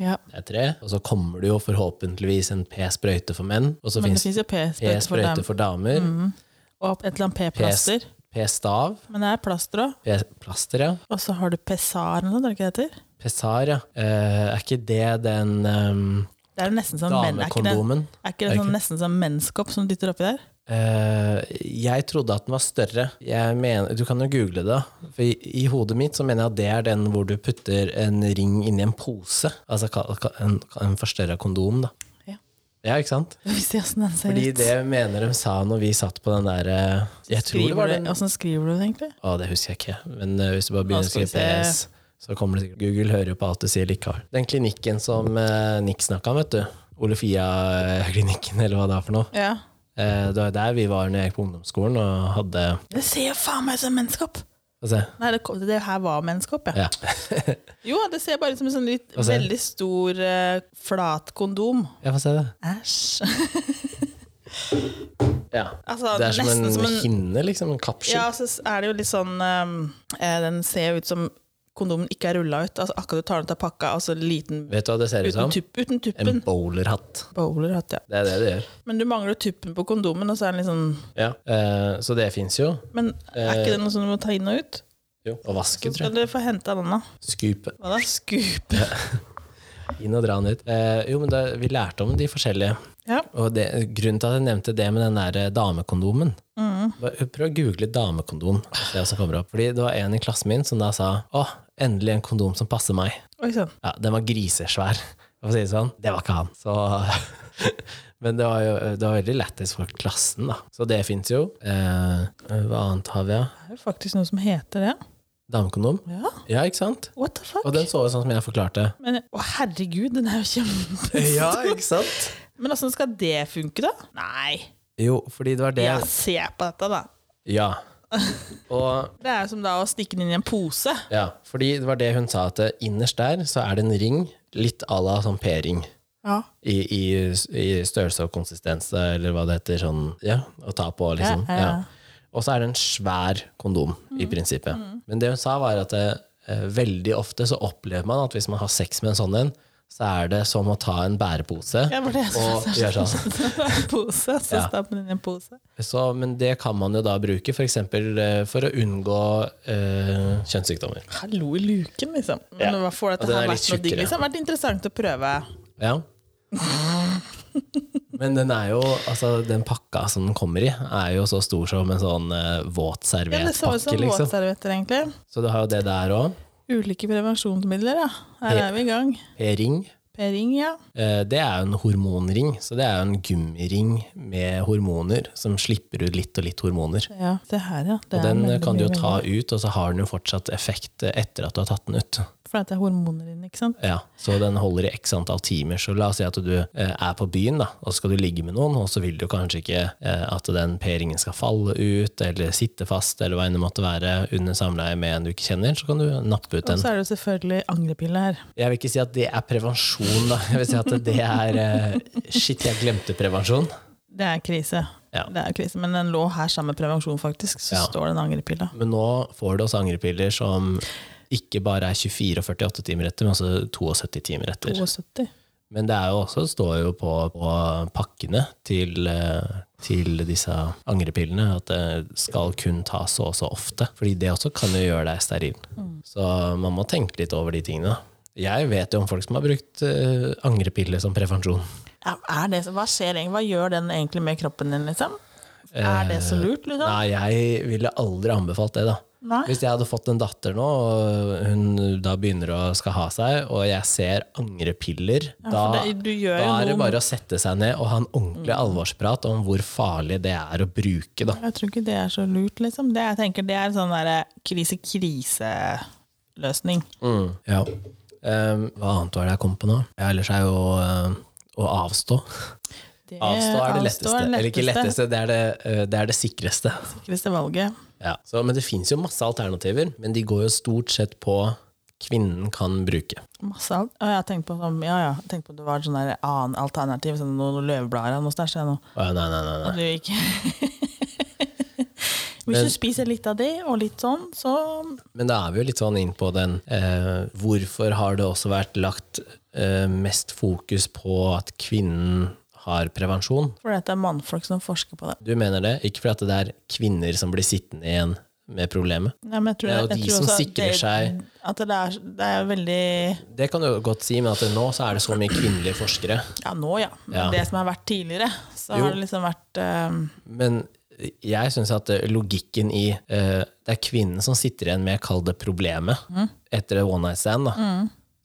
ja. Det er tre. Og så kommer det jo forhåpentligvis en p-sprøyte for menn. Og så Men det fins fins jo p-sprøyte for Mhm. dem. p-sprøyte for damer. og et eller annet p-plaster. P-stav. Men det er plaster òg. P-plaster, ja. Og så har du pesar eller noe, er det ikke det heter? Pesar, ja. Eh, er ikke det den eh, Det er jo nesten sånn men, er ikke det, damekondomen? er ikke det sånn, nesten sånn menskopp som du dytter oppi der? Eh, jeg trodde at den var større. Jeg mener, du kan jo google det. da. For i, I hodet mitt så mener jeg at det er den hvor du putter en ring inni en pose. Altså ka- ka- en, en forstørra kondom, da. Ja. Ja, ikke sant? Vi ser hvordan den ser Fordi ut. det mener de sa når vi satt på den der eh, Jeg tror det skriver var du, den. Åssen skriver du det, egentlig? Å, Ah, det husker jeg ikke. Men eh, hvis du bare begynner å Nå skal vi skrive PS, se. så kommer det sikkert Google hører jo på alt du sier likevel. Den klinikken som eh, Nick snakka om, vet du. Olefia-klinikken, eller hva det er for noe. Ja. Eh, det var jo der vi var når jeg gikk på ungdomsskolen og hadde Det ser jo faen meg ut som menneskehopp! Få se. Nei, det, kom- det her var menneskehopp, ja. Ja. Jo, det ser bare ut som en sånn litt, Hva ser du? veldig stor, eh, flat kondom. Jeg får se det. Æsj. Ja. Altså, Det er som nesten en, hinne, liksom. En kapsel. Ja, så er det jo litt sånn ehm, eh, Den ser jo ut som kondomen ikke er rulla ut. Altså, akkurat du tar den ut av pakka, altså liten Vet du hva det ser ut uten, som? tupp, uten tuppen. liksom. En bowlerhatt. Bowler, hatt, ja. Det er det det gjør. Men du mangler tuppen på kondomen, og så er den litt sånn Ja. Eh, så det fins jo. Men er Eh, ikke det noe som du må ta inn og ut? jo. Og Så vaske, tror skal jeg. dere få henta den, da. Scoop. Hva da? Skupe? Inn og dra den ut. Eh, jo, men da, vi lærte om de forskjellige. Ja. Og det, grunnen til at jeg nevnte det med den der eh, damekondomen Bare Prøv å google damekondom. Se hva som kommer opp. Fordi det var en i klassen min som da sa Å, endelig en kondom som passer meg. Oi sann. Ja, Den var grisesvær, for å si det sånn. Det var ikke han. Så, men det var jo det var veldig lættis for klassen, da. Så det fins jo. Eh, hva annet har vi, da? Det er jo faktisk noe som heter det. Damekondom. Ja, Ja, ikke sant? what the Og fuck? den så ut sånn som jeg forklarte. Men, å herregud, den er jo kjempe... Ja, ikke sant? Men åssen skal det funke, da? Nei, Jo, fordi det var det ja, se på dette, da. Ja. Og Det er jo som da å stikke den inn i en pose. Ja, fordi det var det hun sa, at eh, innerst der så er det en ring, litt à la sånn P-ring, Ja. i, i, i størrelse og konsistens, eller hva det heter, sånn, ja, å ta på, liksom. Ja, ja, ja. Ja. Og så er det en svær kondom, i prinsippet. Mm. Men det hun sa var at eh, veldig ofte så opplever man at hvis man har sex med en sånn en, så er det som å ta en bærepose. Ja, var det jeg Og sa. gjør sånn. En pose, så Ja. stapp den inn i en pose. Så, men det kan man jo da bruke for eksempel eh, for å unngå eh, kjønnssykdommer. Hallo i luken, liksom. Ja. Men hva Og får dette den her er litt vært noe digg? tjukkere. Liksom? Det har vært interessant å prøve. Ja. Men den er jo, altså den pakka som den kommer i, er jo så stor som en sånn eh, våt Ja, det så ut som serviettpakke, liksom. våtservietter, egentlig. Så du har jo det der òg. Ulike prevensjonsmidler, ja. Her Ja. er vi i gang. P-ring. P-ring, ja. Eh, Det er jo en hormonring, så det er jo en gummiring med hormoner som slipper ut litt og litt hormoner. Ja, se her, ja. Det Og er den eh, veldig kan du jo mye ta veldig- ut, og så har den jo fortsatt effekt eh, etter at du har tatt den ut. For at det er hormoner inne, ikke sant? Ja, Så den holder i x antall timer. Så la oss si at du eh, er på byen, da, og så skal du ligge med noen, og så vil du kanskje ikke eh, at den p-ringen skal falle ut, eller sitte fast, eller hva enn det måtte være, under samleie med en du ikke kjenner, så kan du nappe ut Og den. så er det jo selvfølgelig angrepille her. Jeg vil ikke si at det er prevensjon, da. Jeg vil si at det er eh, Shit, jeg glemte prevensjon. Det er krise. Ja. Det er krise. Men den lå her sammen med prevensjon, faktisk. Så Ja. står det en angrepille. Men nå får du også angrepiller som ikke bare er 24 og 48 timer etter, men også 72 timer etter. 72. Men det er jo også, står jo på, på pakkene til, eh, til disse angrepillene at det skal kun tas så og så ofte. Fordi det også kan jo gjøre deg steril. Så man må tenke litt over de tingene. Jeg vet jo om folk som har brukt eh, angrepiller som prevensjon. Ja, er det, så- hva skjer egentlig? Hva gjør den egentlig med kroppen din, liksom? Er det Eh, så lurt, liksom? Nei, jeg ville aldri anbefalt det, da. Nei. Hvis jeg hadde fått en datter nå, og hun da begynner å skal ha seg, og jeg ser angrepiller, da, for det- du gjør da jo Mm. er det noe- bare å sette seg ned og ha en ordentlig alvorsprat om hvor farlig det er å bruke, da. Jeg tror ikke det er så lurt, liksom. Det, jeg tenker, det er en sånn derre krise-krise-løsning. Ja. Ehm, hva annet var det jeg kom på nå? Ja, ellers er jo eh, å avstå. Det- Avstå er det avstå letteste. Eller ikke letteste, det er det, eh, det, er det sikreste. Sikreste valget. Ja. Så, men det fins jo masse alternativer, men de går jo stort sett på kvinnen kan bruke. Masse alt. Og jeg har tenkt på, sånn, ja, ja, jeg har tenkt på at det var et sånn der annet alternativ, sånn noen noe løvblader og noe stæsj. jeg nå. Å, nei, nei, nei, nei. At du ikke Hvis Men- du spiser litt av det, og litt sånn, så Men da er vi jo litt sånn inn på den eh, Hvorfor har det også vært lagt eh, mest fokus på at kvinnen har prevensjon? For det er mannfolk som forsker på det. Du mener det, ikke fordi at det er kvinner som blir sittende i en med problemet. Nei, men jeg tror, Det er jo jeg de tror som også at sikrer det- seg- At det er, det er veldig Det kan du godt si, men at nå så er det så mye kvinnelige forskere. Ja, nå ja. Men Ja. det som har vært tidligere, så Jo. har det liksom vært eh, Men jeg syns at eh, logikken i eh, Det er kvinnen som sitter igjen med, kall det problemet, etter en one night stand. da.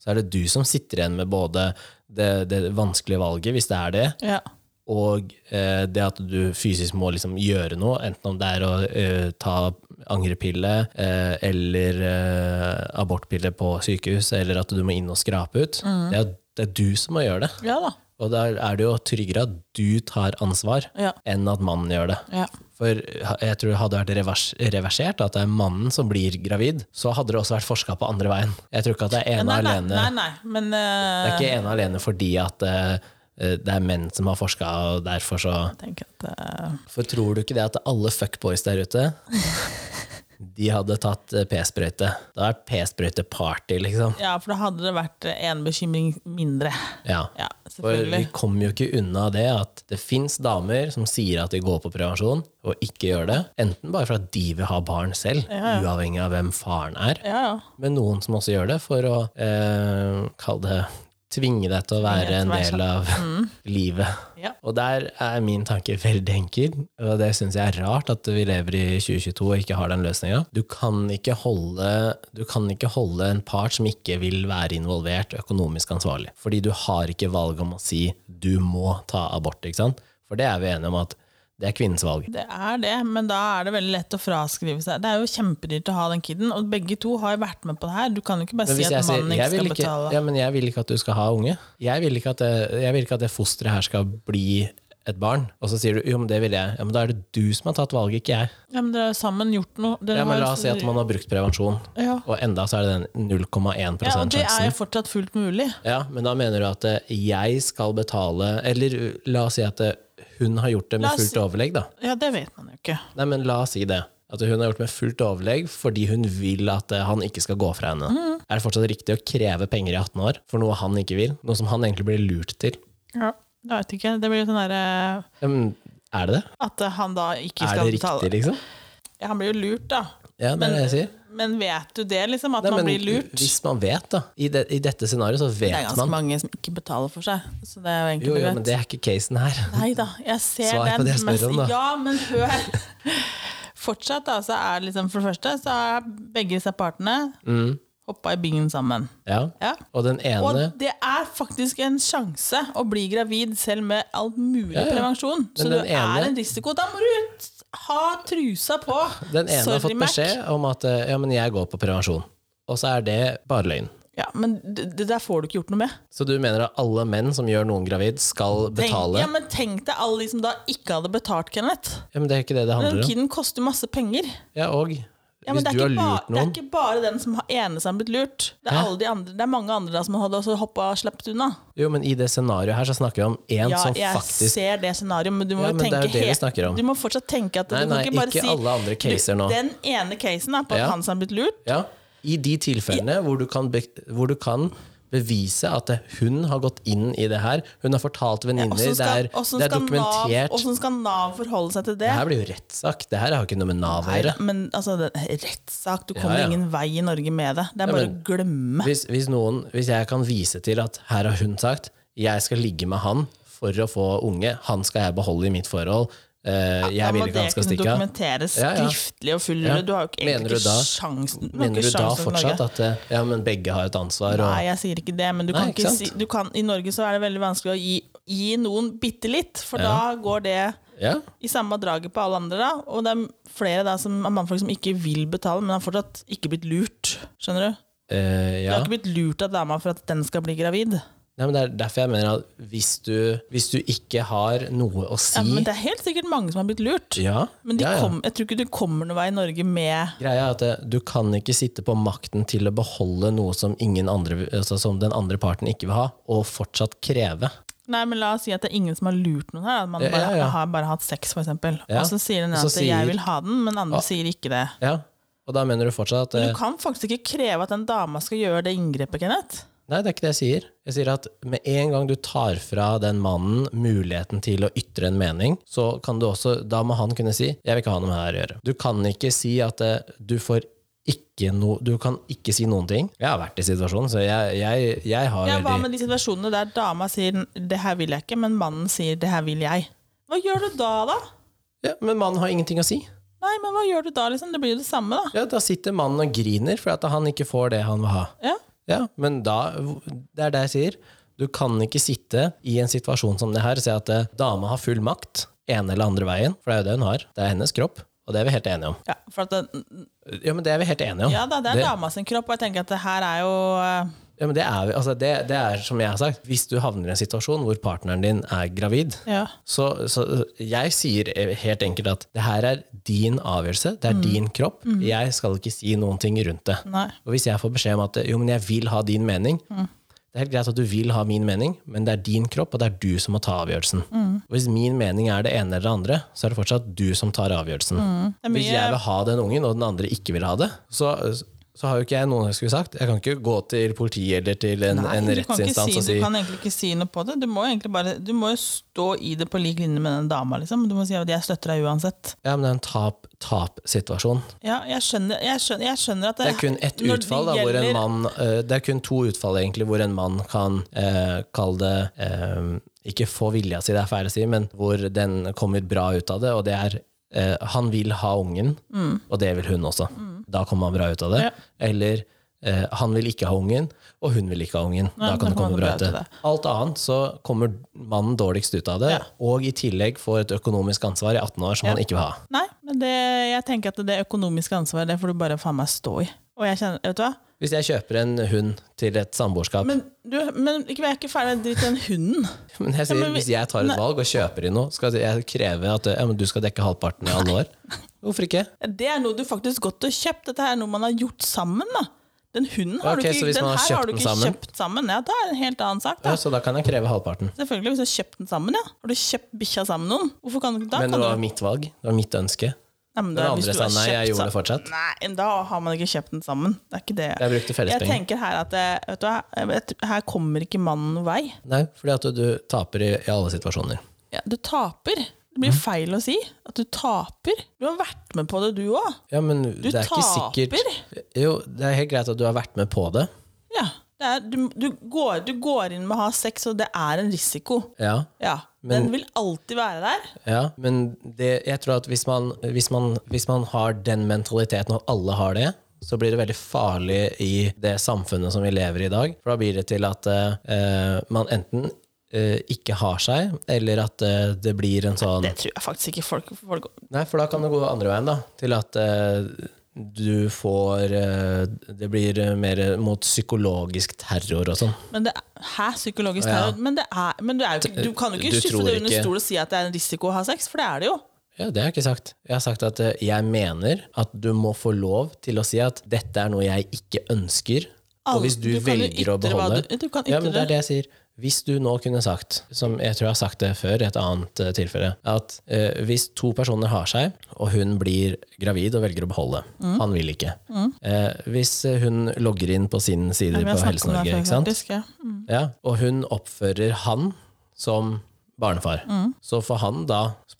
Så er det du som sitter igjen med både det, det vanskelige valget, hvis det er det, Ja. og eh, det at du fysisk må liksom gjøre noe, enten om det er å eh, ta angrepille eh, eller eh, abortpille på sykehus, eller at du må inn og skrape ut, Mm. det, er, det er du som må gjøre det. ja da. Og da er det jo tryggere at du tar ansvar, Ja. enn at mannen gjør det. Ja. For jeg tror hadde det vært revers reversert, at det er mannen som blir gravid, så hadde det også vært forska på andre veien. Jeg tror ikke at det er ene Nei, nei, alene nei, nei, men eh, Det er ikke ene alene fordi at eh, eh, det er menn som har forska, og derfor så jeg tenker at eh, For tror du ikke det at alle fuckboys der ute De hadde tatt eh, p-sprøyte. Det hadde vært p-sprøyte-party, liksom. Ja, for da hadde det vært én bekymring mindre. Ja. Ja, For vi selvfølgelig. kommer jo ikke unna det at det fins damer som sier at de går på prevensjon, og ikke gjør det. Enten bare for at de vil ha barn selv, uavhengig av hvem faren er, Ja, ja. men noen som også gjør det for å eh, kalle det Tvinge deg til å være deg til en å være sånn. Mm. del av livet. Ja. Og der er min tanke veldig enkel, og det syns jeg er rart at vi lever i 2022 og ikke har den løsninga. Du, kan ikke holde- du kan ikke holde en part som ikke vil være involvert, økonomisk ansvarlig. Fordi du har ikke valg om å si 'du må ta abort', ikke sant? For det er vi enige om at det er kvinnens valg. Det er det, men da er det veldig lett å fraskrive seg. Det er jo kjempedyrt å ha den kiden, og begge to har jo vært med på det her. Du kan jo ikke bare Men si hvis at jeg sier mannen ikke jeg vil skal ikke, betale. ja, men jeg vil ikke at du skal ha unge, jeg vil ikke at det, jeg vil ikke at det fosteret her skal bli et barn, og så sier du jo, men det vil jeg. Ja, men da er det du som har tatt valget, ikke jeg. Ja, men dere har jo sammen gjort noe. Dere Ja, men har jo- La oss si at man har brukt prevensjon, Ja. og enda så er det den 0,1 ja, og det er sjansen. jo fortsatt fullt mulig. Ja, men da mener du at eh, jeg skal betale Eller uh, la oss si at eh, hun har gjort det La med oss- fullt overlegg, da. Ja, det vet man jo ikke. Nei, men la oss si det. At hun har gjort det med fullt overlegg fordi hun vil at eh, han ikke skal gå fra henne. Mhm. Er det fortsatt riktig å kreve penger i 18 år for noe han ikke vil? Noe som han egentlig blir lurt til? Ja. Jeg vet ikke. Det blir jo sånn derre Ja, men er det det? At han da ikke Er skal det betale. riktig, liksom? Ja, han blir jo lurt, da. Ja, det er det jeg sier. Men vet du det, liksom? At Nei, man men blir lurt? Hvis man vet, da. I, det, i dette scenarioet så Det er vet ganske man. mange som ikke betaler for seg. Så det er jo egentlig Jo, jo, greit. men det er ikke casen her. Nei da, jeg ser Svar på den. det jeg spør men- om, da. Ja, men hør. Fortsatt, da, så er liksom For det første så er begge disse partene Mm. hoppa i bingen sammen. Ja. Ja. Og den Og ene det er faktisk en sjanse å bli gravid selv med all mulig Ja, ja. prevensjon. Så Men det den ene- er en risiko. Da må du ha trusa på! Den ene har fått Mac. beskjed om at eh, ja, men jeg går på prevensjon. Og så er det bare løgn. Ja, men det, det der får du ikke gjort noe med. Så du mener at alle menn som gjør noen gravid, skal Tenk, betale? ja, men tenk deg alle de som da ikke hadde betalt, Kenneth. Ja, men det er ikke det det Den handler om. kiden koster masse penger. Ja, og Ja, men hvis det, er du har ikke bare, lurt det er noen ikke bare den som har ene som har blitt lurt. Det er, Hæ? alle de andre, det er mange andre da som hadde også hoppa og sluppet unna. Jo, men i det scenarioet her så snakker vi om én Ja, som jeg faktisk ser det scenarioet, men du må Ja, jo men det er tenke jo det vi helt- snakker om. Du må fortsatt tenke at Nei, du kan nei, ikke bare ikke si alle andre caser nå. Den ene casen er på at Ja. han som har blitt lurt. Ja, I de tilfellene hvor, du kan be, hvor du kan bevise at hun har gått inn i det her. Hun har fortalt venninner. Åssen det skal, er, åssen det er skal Nav, dokumentert. åssen skal Nav forholde seg til det? Det her blir jo rettssak. Det her har ikke noe med Nav å Nei, gjøre. men altså, det, rettssak, du kommer ja. ingen vei i Norge med det. Det er bare men- å glemme. Hvis, hvis, noen, hvis jeg kan vise til at her har hun sagt jeg skal ligge med han for å få unge, han skal jeg beholde i mitt forhold, eh, jeg vil må ikke det han skal kunne stikke av. dokumenteres Ja, ja. skriftlig og full Ja. Du har jo ikke, Mener du egentlig ikke da- sjansen. du har Mener ikke du da sjansen for Norge. fortsatt at eh, ja, men begge har et ansvar? Nei, Og, jeg sier ikke det, men du Nei, kan ikke ikke sant? si du kan, I Norge så er det veldig vanskelig å gi, gi noen bitte litt, for da går det ja? i samme draget på alle andre, da. Og det er flere da som, av mannfolk som ikke vil betale, men har fortsatt ikke blitt lurt. Skjønner du? Eh, Du ja. har ikke blitt lurt av dama for at den skal bli gravid. Nei, men det er derfor jeg mener at hvis du, hvis du ikke har noe å si Ja, men det er helt sikkert mange som har blitt lurt. Ja, Men de ja, ja. Kom, jeg tror ikke du kommer noen vei i Norge med Greia er at eh, du kan ikke sitte på makten til å beholde noe som, ingen andre, altså som den andre parten ikke vil ha, og fortsatt kreve. Nei, men la oss si at det er ingen som har lurt noen her. At man Ja, bare, ja, ja. har bare hatt sex, for eksempel. Ja. Og så sier den Og ene så at 'jeg sier- vil ha den', men andre sier ikke det. Ja, Og da mener du fortsatt at Men eh, du kan faktisk ikke kreve at en dame skal gjøre det inngrepet, Kenneth. Nei, det er ikke det jeg sier. Jeg sier at med en gang du tar fra den mannen muligheten til å ytre en mening, så kan du også, da må han kunne si 'jeg vil ikke ha noe med det her å gjøre'. Du kan ikke si at eh, du får ikke no, du kan ikke si noen ting. Jeg har vært i situasjonen, så jeg, jeg, jeg har Ja, hva veldig med de situasjonene der dama sier 'det her vil jeg ikke', men mannen sier 'det her vil jeg'? Hva gjør du da, da? ja, Men mannen har ingenting å si. Nei, men hva gjør du da, liksom? Det blir jo det samme, da. Ja, Da sitter mannen og griner fordi at han ikke får det han vil ha. Ja. Ja, men da, det er det jeg sier. Du kan ikke sitte i en situasjon som det her og si at eh, dama har full makt, ene eller andre veien, for det er jo det hun har. Det er hennes kropp, og det er vi helt enige om. Ja, for at det, Ja, men det er vi helt enige om. ja da, det er Det- dama sin kropp, og jeg tenker at det her er jo eh, Ja, men det er, vi- altså det, det er som jeg har sagt, hvis du havner i en situasjon hvor partneren din er gravid, Ja. Så, så jeg sier helt enkelt at det her er din avgjørelse, det er din kropp. Jeg skal ikke si noen ting rundt det. Mm. Nei. Mm. Og hvis jeg får beskjed om at jo, men jeg vil ha din mening Det er helt greit at du vil ha min mening, men det er din kropp, og det er du som må ta avgjørelsen. Mm. Og hvis min mening er det ene eller det andre, så er det fortsatt du som tar avgjørelsen. Mm. Det er Hvis mye jeg vil ha den ungen, og den andre ikke vil ha det, så, så har jo ikke jeg noe jeg skulle sagt. Jeg kan ikke gå til politiet eller til en, Nei, en du kan ikke rettsinstans og si, si Du kan egentlig ikke si noe på det. Du må, egentlig bare, du må jo stå i det på lik linje med den dama. Liksom. Du må si at 'jeg støtter deg uansett'. ja, men det er en tap-tap-situasjon. Ja, jeg skjønner, jeg skjønner, jeg skjønner at Det er kun ett når utfall da, hvor en gjelder- mann eh, Det er kun to utfall egentlig hvor en mann kan eh, kalle det eh, Ikke få vilja si, det er feil å si, men hvor den kommer bra ut av det, og det er eh, Han vil ha ungen, og det vil hun også. Da kommer han bra ut av det. Ja. Eller eh, han vil ikke ha ungen, og hun vil ikke ha ungen. da kan det komme bra ut av det. Alt annet så kommer mannen dårligst ut av det, Ja. og i tillegg får et økonomisk ansvar i 18 år som han ikke vil ha. Nei, men det, jeg tenker at det økonomiske ansvaret det får du bare faen meg stå i. Og jeg kjenner, vet du hva? Hvis jeg kjøper en hund til et samboerskap Men, du, men ikke, vi er ikke ferdig med dritt den hunden. Men jeg sier, Ja, men vi- Hvis jeg tar et Nei. valg og kjøper inn noe, skal jeg kreve at ja, men du skal dekke halvparten i alle år? Hvorfor ikke? Det er noe du faktisk godt har kjøpt. Dette er noe man har gjort sammen. da. Den hunden har Ok, du så ikke, hvis den man har her har du kjøpt den ikke sammen? kjøpt sammen. Ja, Da er det en helt annen sak. Ja, da. så da kan jeg kreve halvparten. Selvfølgelig, hvis du har kjøpt den sammen, ja. Har du kjøpt bikkja sammen med noen? Hvorfor kan du ikke da? Men det kan var du, mitt valg. Det var mitt ønske. nei, men Den da- hvis andre du sa har nei, kjøpt jeg gjorde det sammen- fortsatt. Nei, men da har man ikke kjøpt den sammen. Det er ikke det. Jeg brukte Jeg fellespenger. tenker her at eh, vet du, hva, jeg vet, her kommer ikke mannen noen vei. Nei, fordi at du taper i, i alle situasjoner. Ja, du taper. Det Mm. blir feil å si at du taper. Du har vært med på det, du òg. Ja, men det er ikke sikkert Jo, det er helt greit at du har vært med på det. Ja. Det er, du, du, går, du går inn med å ha sex, og det er en risiko. Ja, Ja. den vil alltid være der. ja. Men det, jeg tror at hvis man, hvis, man, hvis man har den mentaliteten, og alle har det, så blir det veldig farlig i det samfunnet som vi lever i i dag. For da blir det til at eh, man enten eh, ikke har seg, eller at eh, det blir en sånn Det tror jeg faktisk ikke folk, folk Nei, for da kan det gå andre veien, da. Til at eh, du får eh, Det blir eh, mer mot psykologisk terror og sånn. Men det er, hæ, psykologisk terror? Men, det er, men du, er jo ikke, du kan jo Du ikke skyfte tror det under ikke- stol og si at det er en risiko å ha sex, for det er det jo. Ja, det har jeg ikke sagt. Jeg har sagt at eh, jeg mener at du må få lov til å si at dette er noe jeg ikke ønsker. Alle- og hvis du, du kan jo velger å ytre hva beholde du- du kan Ja, men det ytre det. er det jeg sier. Hvis du nå kunne sagt, som jeg tror jeg har sagt det før i et annet eh, tilfelle, at eh, hvis to personer har seg, og hun blir gravid og velger å beholde, Mm. han vil ikke. Eh, hvis eh, hun logger inn på sin side Vi har på snakket om det Helse-Norge, her før, ikke sant? faktisk, ja. Mm. Ja, og hun oppfører han som barnefar. Så får han da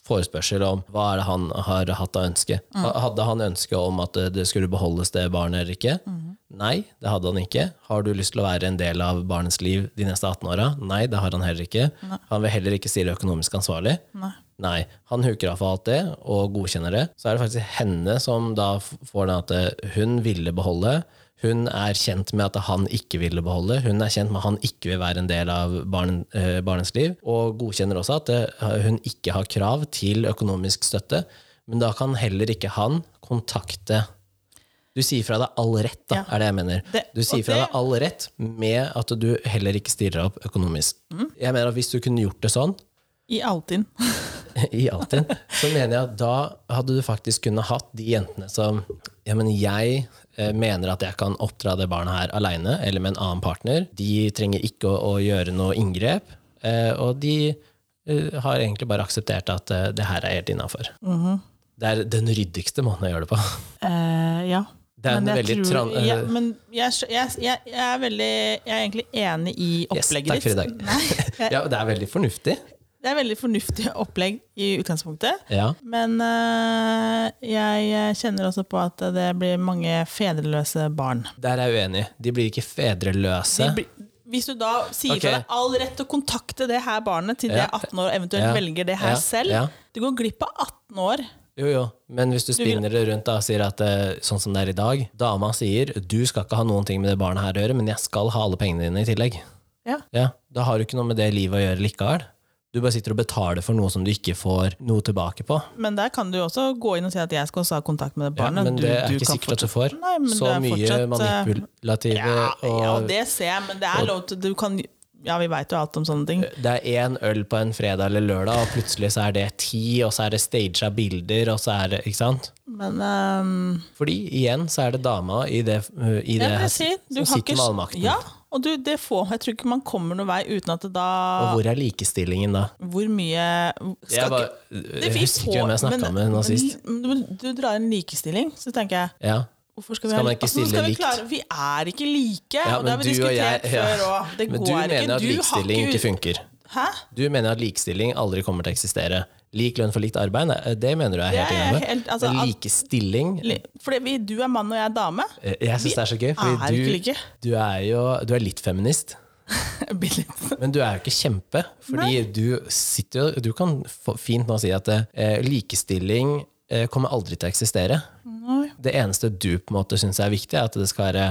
forespørsel om hva er det han har hatt av ønske. Ha- Hadde han ønske om at det- det skulle beholdes det barnet eller ikke? Nei, det hadde han ikke. Har du lyst til å være en del av barnets liv de neste 18 åra? Nei, det har han heller ikke. Han vil heller ikke stille økonomisk ansvarlig. Nei. Nei, han huker av for alt det og godkjenner det. Så er det faktisk henne som da f- får den at eh, hun ville beholde. Hun er kjent med at han ikke ville beholde. Hun er kjent med at han ikke vil være en del av barn, eh, barnets liv. Og godkjenner også at eh, hun ikke har krav til økonomisk støtte. Men da kan heller ikke han kontakte Du sier fra deg all rett, da, Ja. er det jeg mener. Det- du sier og fra det- deg all rett med at du heller ikke stiller opp økonomisk. Mm. Jeg mener at hvis du kunne gjort det sånn, I Altinn. i Altinn, så mener jeg at da hadde du faktisk kunnet hatt de jentene som ja, men jeg eh, mener at jeg kan oppdra det barnet her aleine eller med en annen partner. De trenger ikke å, å gjøre noe inngrep. Eh, og de eh, har egentlig bare akseptert at eh, det her er helt innafor. Det er den ryddigste måten å gjøre det på. Eh, ja. Det er en Men jeg, veldig tror, tran... ja, eh, men jeg, skj- jeg, jeg, jeg er veldig Jeg er egentlig enig i yes, opplegget takk for i dag. ditt. Nei, jeg, ja, det er veldig fornuftig. det er veldig fornuftig opplegg i utgangspunktet. Ja. Men øh, jeg kjenner også på at det blir mange fedreløse barn. Der er jeg uenig. De blir ikke De fedreløse. blir- Hvis du da sier Ok. fra deg all rett til å kontakte det her barnet til det Ja. er 18 år, og eventuelt Ja. velger det her Ja. selv Ja. Du går glipp av 18 år. Jo, jo. Men hvis du spinner det rundt da, og sier at eh, sånn som det er i dag Dama sier du skal ikke ha noen ting med det barnet her å gjøre, men jeg skal ha alle pengene dine i tillegg. Ja. Ja, Da har du ikke noe med det livet å gjøre likevel. Du bare sitter og betaler for noe som du ikke får noe tilbake på. Men der kan du jo også gå inn og si at jeg skal også ha kontakt med det Ja, barnet. men Du- det er du ikke kan sikkert at du får. Nei, men så det er mye fortsatt, eh, manipulative Ja, og ja, det ser jeg, men det er lov til du kan, Ja, vi veit jo alt om sånne ting. det er én øl på en fredag eller lørdag, og plutselig så er det ti, og så er det staged av bilder, og så er det Ikke sant? Men ehm, Fordi igjen så er det dama i det, uh, i det det vil her jeg si, du som har sitter ikke med all makten. Ja, og du, det får Jeg tror ikke man kommer noen vei uten at det Og da hvor er likestillingen da? Hvor mye Ah. skal Jeg, bare, ikke- jeg husker ikke hvem jeg snakka med nå sist. men- men Du drar inn likestilling, så tenker jeg Ja. Hvorfor skal vi, Skal ha man li- ikke altså, nå stille skal vi, likt? klare, vi er ikke like, Ja, og det har vi men du og jeg- diskutert ja. før òg. Det Men går du ikke. mener at du har likestilling ikke funker. Hæ? Du mener at likestilling aldri kommer til å eksistere. Lik lønn for likt arbeid, nei, øh, det mener du er Det helt er enig jeg helt- med. altså, Men at- likestilling Li- Fordi vi, du er mann og jeg er dame. eh, Jeg syns det er så gøy, er fordi ikke du, like. du er jo du er litt feminist. Bitte litt. Men du er jo ikke kjempe, fordi du sitter jo Du kan få- fint nå si at eh, likestilling eh, kommer aldri til å eksistere. Nei. Det eneste du på en måte syns er viktig, er at det skal være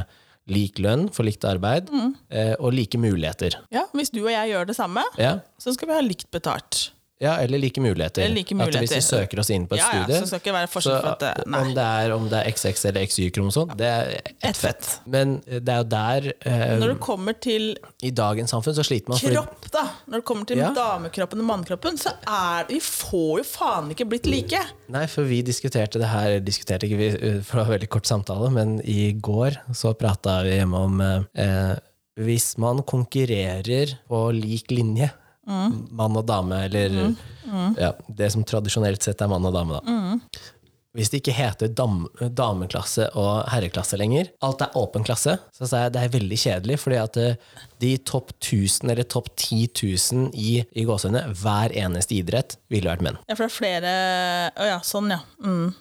lik lønn for likt arbeid Mm. eh, og like muligheter. Ja, hvis du og jeg gjør det samme, Ja. så skal vi ha likt betalt. ja, eller like muligheter. Eller like At hvis vi muligheter. søker oss inn på et Ja, ja, studie så skal det ikke være forskjell for at det- nei. om, det er, om det er XX eller XY-kromosom, det er ett Ett fett. fett. Men eh, det er jo der eh, Når det kommer til I dagens samfunn så sliter man fordi- kropp, da, når det kommer til Ja. damekroppen og mannkroppen, så er Vi får jo faen ikke blitt like! Nei, for vi diskuterte det her eller diskuterte ikke, vi, eh, for det var en veldig kort samtale, men i går så prata vi hjemme om eh, eh, hvis man konkurrerer på lik linje, mann og dame, eller Ja, det som tradisjonelt sett er mann og dame, da. Hvis det ikke heter dam, dameklasse og herreklasse lenger, alt er åpen klasse, så sa jeg det er veldig kjedelig, fordi at eh, de topp 1000 eller topp 10 000 i, i gåsehudene hver eneste idrett ville vært menn. Ja, for det er flere Å ja, sånn, ja. Mm.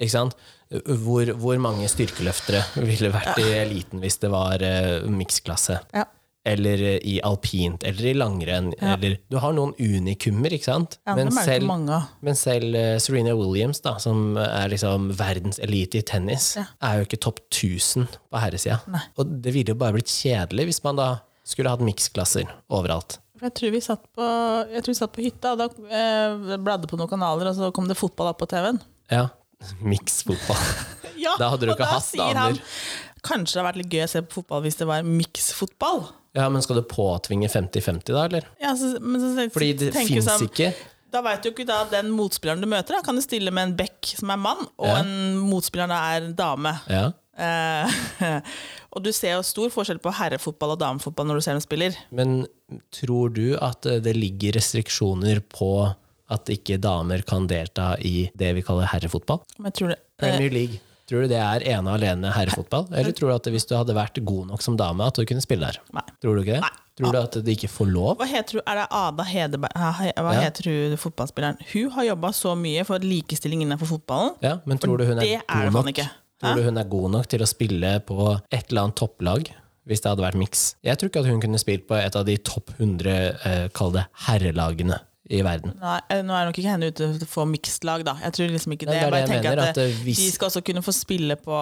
Ikke sant? Hvor, hvor mange styrkeløftere ville vært i eliten hvis det var eh, miksklasse? Ja. Eller eh, i alpint, eller i langrenn. Eller, du har noen unikummer, ikke sant? Ja, men, dem er det ikke selv, mange av. men selv eh, Serena Williams, da, som er liksom verdenselite i tennis, Ja. er jo ikke topp 1000 på herresida. Og det ville jo bare blitt kjedelig hvis man da skulle hatt miksklasser overalt. For jeg tror vi satt på, jeg tror vi satt på hytta, og da eh, bladde på noen kanaler, og så kom det fotball opp på TV-en. Ja, miksfotball. Ja, Da hadde du og ikke da hatt sier han, damer. Kanskje det hadde vært litt gøy å se på fotball hvis det var miksfotball. ja, men skal du påtvinge 50-50 da, eller? Ja, så, men så tenk- Fordi det tenker fins sånn, ikke Da veit du ikke da den motspilleren du møter. Da kan du stille med en back som er mann, og Ja. en motspiller da er dame. ja. Eh, og du ser jo stor forskjell på herrefotball og damefotball når du ser dem spiller. Men tror du at eh, det ligger restriksjoner på at ikke damer kan delta i det vi kaller herrefotball? Men jeg tror det, eh, Premier League. Tror du det er ene og alene herrefotball? Eller tror du at hvis du hadde vært god nok som dame, at du kunne spille der? Nei. Tror du ikke det? Nei. Tror du at de ikke får lov? hva heter hun? Er det Ada Hedeberg? Hæ, he- Hva Ja. heter hun fotballspilleren? Hun har jobba så mye for likestilling innenfor fotballen. Ja, men tror du hun er, det er det god faen nok? ikke. Tror du hun er god nok til å spille på et eller annet topplag? Hvis det hadde vært miks. Jeg tror ikke at hun kunne spilt på et av de topp 100 eh, kall det herrelagene i verden. Nei, eh, nå er nok ikke henne ute for å få mixed-lag, da. Jeg tror liksom ikke Nei, det det. er Jeg bare det jeg tenker mener, at, eh, at, eh, hvis- de skal også kunne få spille på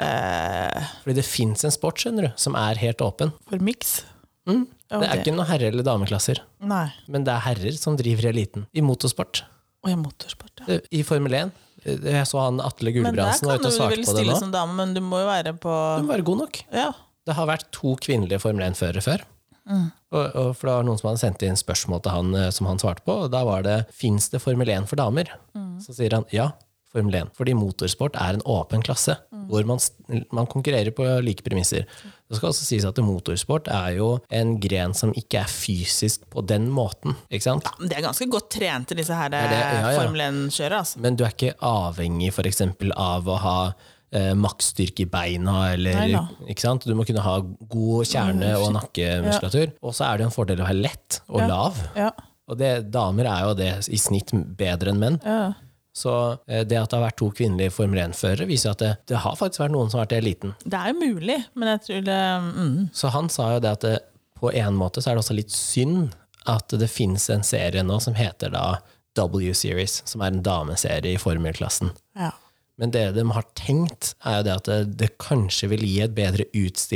eh, Fordi det fins en sport skjønner du, som er helt åpen. For mix. Ja, Mm. Det er ikke noe herre- eller dameklasser, Nei. men det er herrer som driver eliten. I motorsport. Og jeg er motorsport, ja. Eh, I Formel 1. Eh, Jeg så han Atle Men der Gulbrandsen var kan ute og du svarte vel på det stille sånn- nå. som dame, men du må jo være på Hun var god nok. Ja. Det har vært to kvinnelige Formel 1-førere før. Mm. Og, og for det var noen som hadde sendt inn spørsmål til han eh, som han svarte på, og da var det 'Fins det Formel 1 for damer?' Mm. Så sier han ja. Formel 1. Fordi motorsport er en åpen klasse, Mm. hvor man, s- man konkurrerer på like premisser. Det skal også sies at motorsport er jo en gren som ikke er fysisk på den måten. ikke sant? Men de er ganske godt trente, disse her det, ja, ja. Formel 1-kjørere. Altså. Men du er ikke avhengig for eksempel, av å ha eh, maksstyrke i beina, eller Nei da. ikke sant? Du må kunne ha god kjerne og nakkemuskulatur. Og så er det jo en fordel å være lett og Mm. Ja. lav. Ja. Og det, damer er jo det i snitt bedre enn menn. ja. Så eh, det at det har vært to kvinnelige Formel 1-førere, viser jo at det, det har faktisk vært noen som har vært i eliten. Det er jo mulig, men jeg tror det mm. Så han sa jo det at det, på en måte så er det også litt synd at det finnes en serie nå som heter da W-series, som er en dameserie i formelklassen. ja. Men det de har tenkt, er jo det at det, det kanskje vil gi et bedre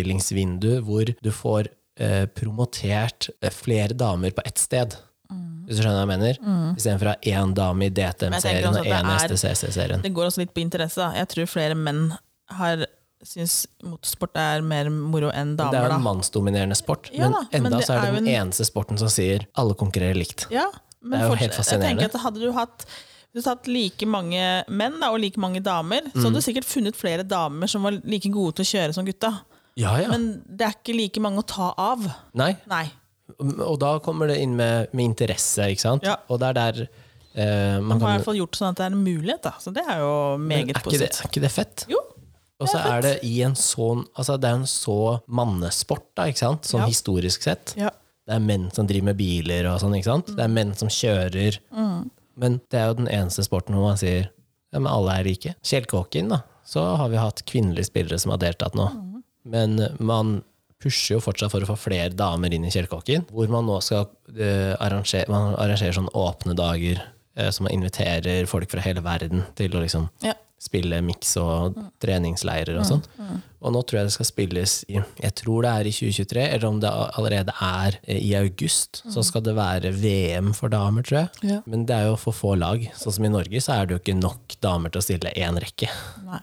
utstillingsvindu, hvor du får eh, promotert eh, flere damer på ett sted. Hvis du skjønner hva jeg mener? Istedenfor å ha én dame i Mm. Men jeg tenker DTM-serien også og at én det er- STCC-serien. Det går også litt på interesse. da. Jeg tror flere menn har syns motorsport er mer moro enn Det er damer. jo en da. mannsdominerende sport, Ja men da, men enda det så er er det jo den eneste sporten som sier alle konkurrerer likt. Ja, Det men er jo fortsatt- helt fascinerende. Jeg tenker at Hadde du hatt hvis du hadde hatt like mange menn da, og like mange damer, så Mm. hadde du sikkert funnet flere damer som var like gode til å kjøre som gutta. Ja, ja. Men det er ikke like mange å ta av. Nei. Nei. Og da kommer det inn med, med interesse, ikke sant? Ja. Og det er der eh, man Man har i kan hvert fall gjort sånn at det er en mulighet, da. Så det er jo Men er meget ikke, det, positivt. er ikke det fett? Jo, Og så er det i en sånn Altså det er en så mannesport, da, ikke sant? Sånn Ja. historisk sett. ja. Det er menn som driver med biler og sånn, ikke sant? Det er menn som kjører. Mm. Men det er jo den eneste sporten hvor man sier ja, men alle er like. Kjell Kåken, da. Så har vi hatt kvinnelige spillere som har deltatt nå. Mm. Men eh, man pusher jo fortsatt for å få flere damer inn i Kjell Kåken, hvor man nå skal eh, arrangere Man arrangerer sånne åpne dager eh, som man inviterer folk fra hele verden til å liksom Ja. spille miks og treningsleirer og sånn. Mm, Og nå tror jeg det skal spilles i Jeg tror det er i 2023, eller om det allerede er eh, i august. Så skal det være VM for damer, tror jeg. Mm. Ja. Men det er jo for få lag. Sånn som i Norge så er det jo ikke nok damer til å stille én rekke. Nei.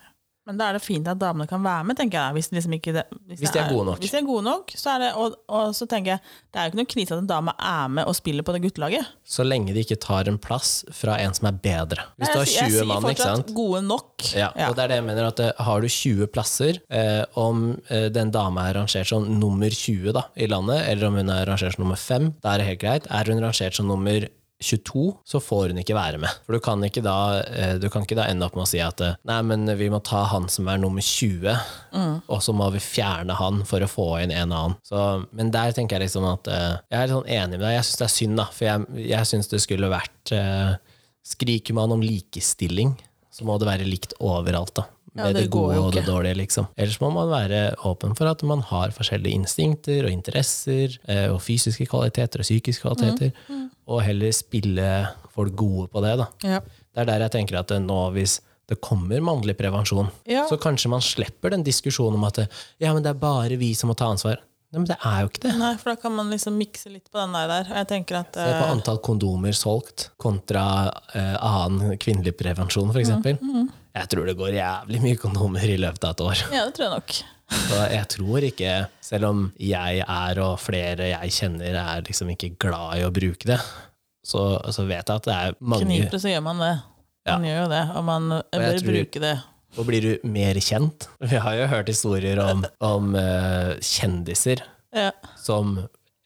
Men da er det fint at damene kan være med, tenker jeg. Hvis, liksom ikke det, Hvis de er gode nok. Hvis de er gode nok, så er det, og, og så tenker jeg, det er jo ikke noe krise at en dame er med og spiller på det guttelaget. Så lenge de ikke tar en plass fra en som er bedre. Hvis du Nei, har jeg sier- 20 mann, ikke Jeg sier sant. fortsatt gode nok. Ja, Ja. og det er det jeg mener at eh, Har du 20 plasser, eh, om eh, den dama er rangert som nummer 20 da, i landet, eller om hun er rangert som nummer 5, da er det helt greit. Er hun rangert som nummer 22, så får hun ikke være med. For du kan ikke da, eh, du kan ikke da ende opp med å si at eh, nei, men vi må ta han som er nummer 20, og så må vi fjerne han for å få inn en annen. Så, men der tenker jeg liksom at eh, jeg er litt sånn enig med deg. Jeg syns det er synd, da, for jeg, jeg syns det skulle vært eh, Skriker man om likestilling, så må det være likt overalt, da. Med Ja, det det, gode går jo og det ikke. dårlige, liksom. Ellers må man være åpen for at man har forskjellige instinkter og interesser, eh, og fysiske kvaliteter og psykiske kvaliteter, Mm, og heller spille folk gode på det, da. Ja. Det er der jeg tenker at eh, nå, hvis det kommer mannlig prevensjon, Ja. så kanskje man slipper den diskusjonen om at eh, ja, men det er bare vi som må ta ansvar. Nei, men det er jo ikke det. Nei, for da kan man liksom mikse litt på den der. der. Og Jeg tenker at Se på eh, antall kondomer solgt kontra eh, annen kvinnelig prevensjon, Mm, f.eks. eksempel Jeg tror det går jævlig mye kondomer i løpet av et år. Ja, det tror jeg nok. Så jeg tror ikke, selv om jeg er og flere jeg kjenner er liksom ikke glad i å bruke det, så, så vet jeg at det er mange. Kniper, så gjør man det. Ja. Man gjør jo det, og man eh, bør jeg tror- bruke det. Og blir du mer kjent? Vi har jo hørt historier om, om eh, kjendiser Ja. som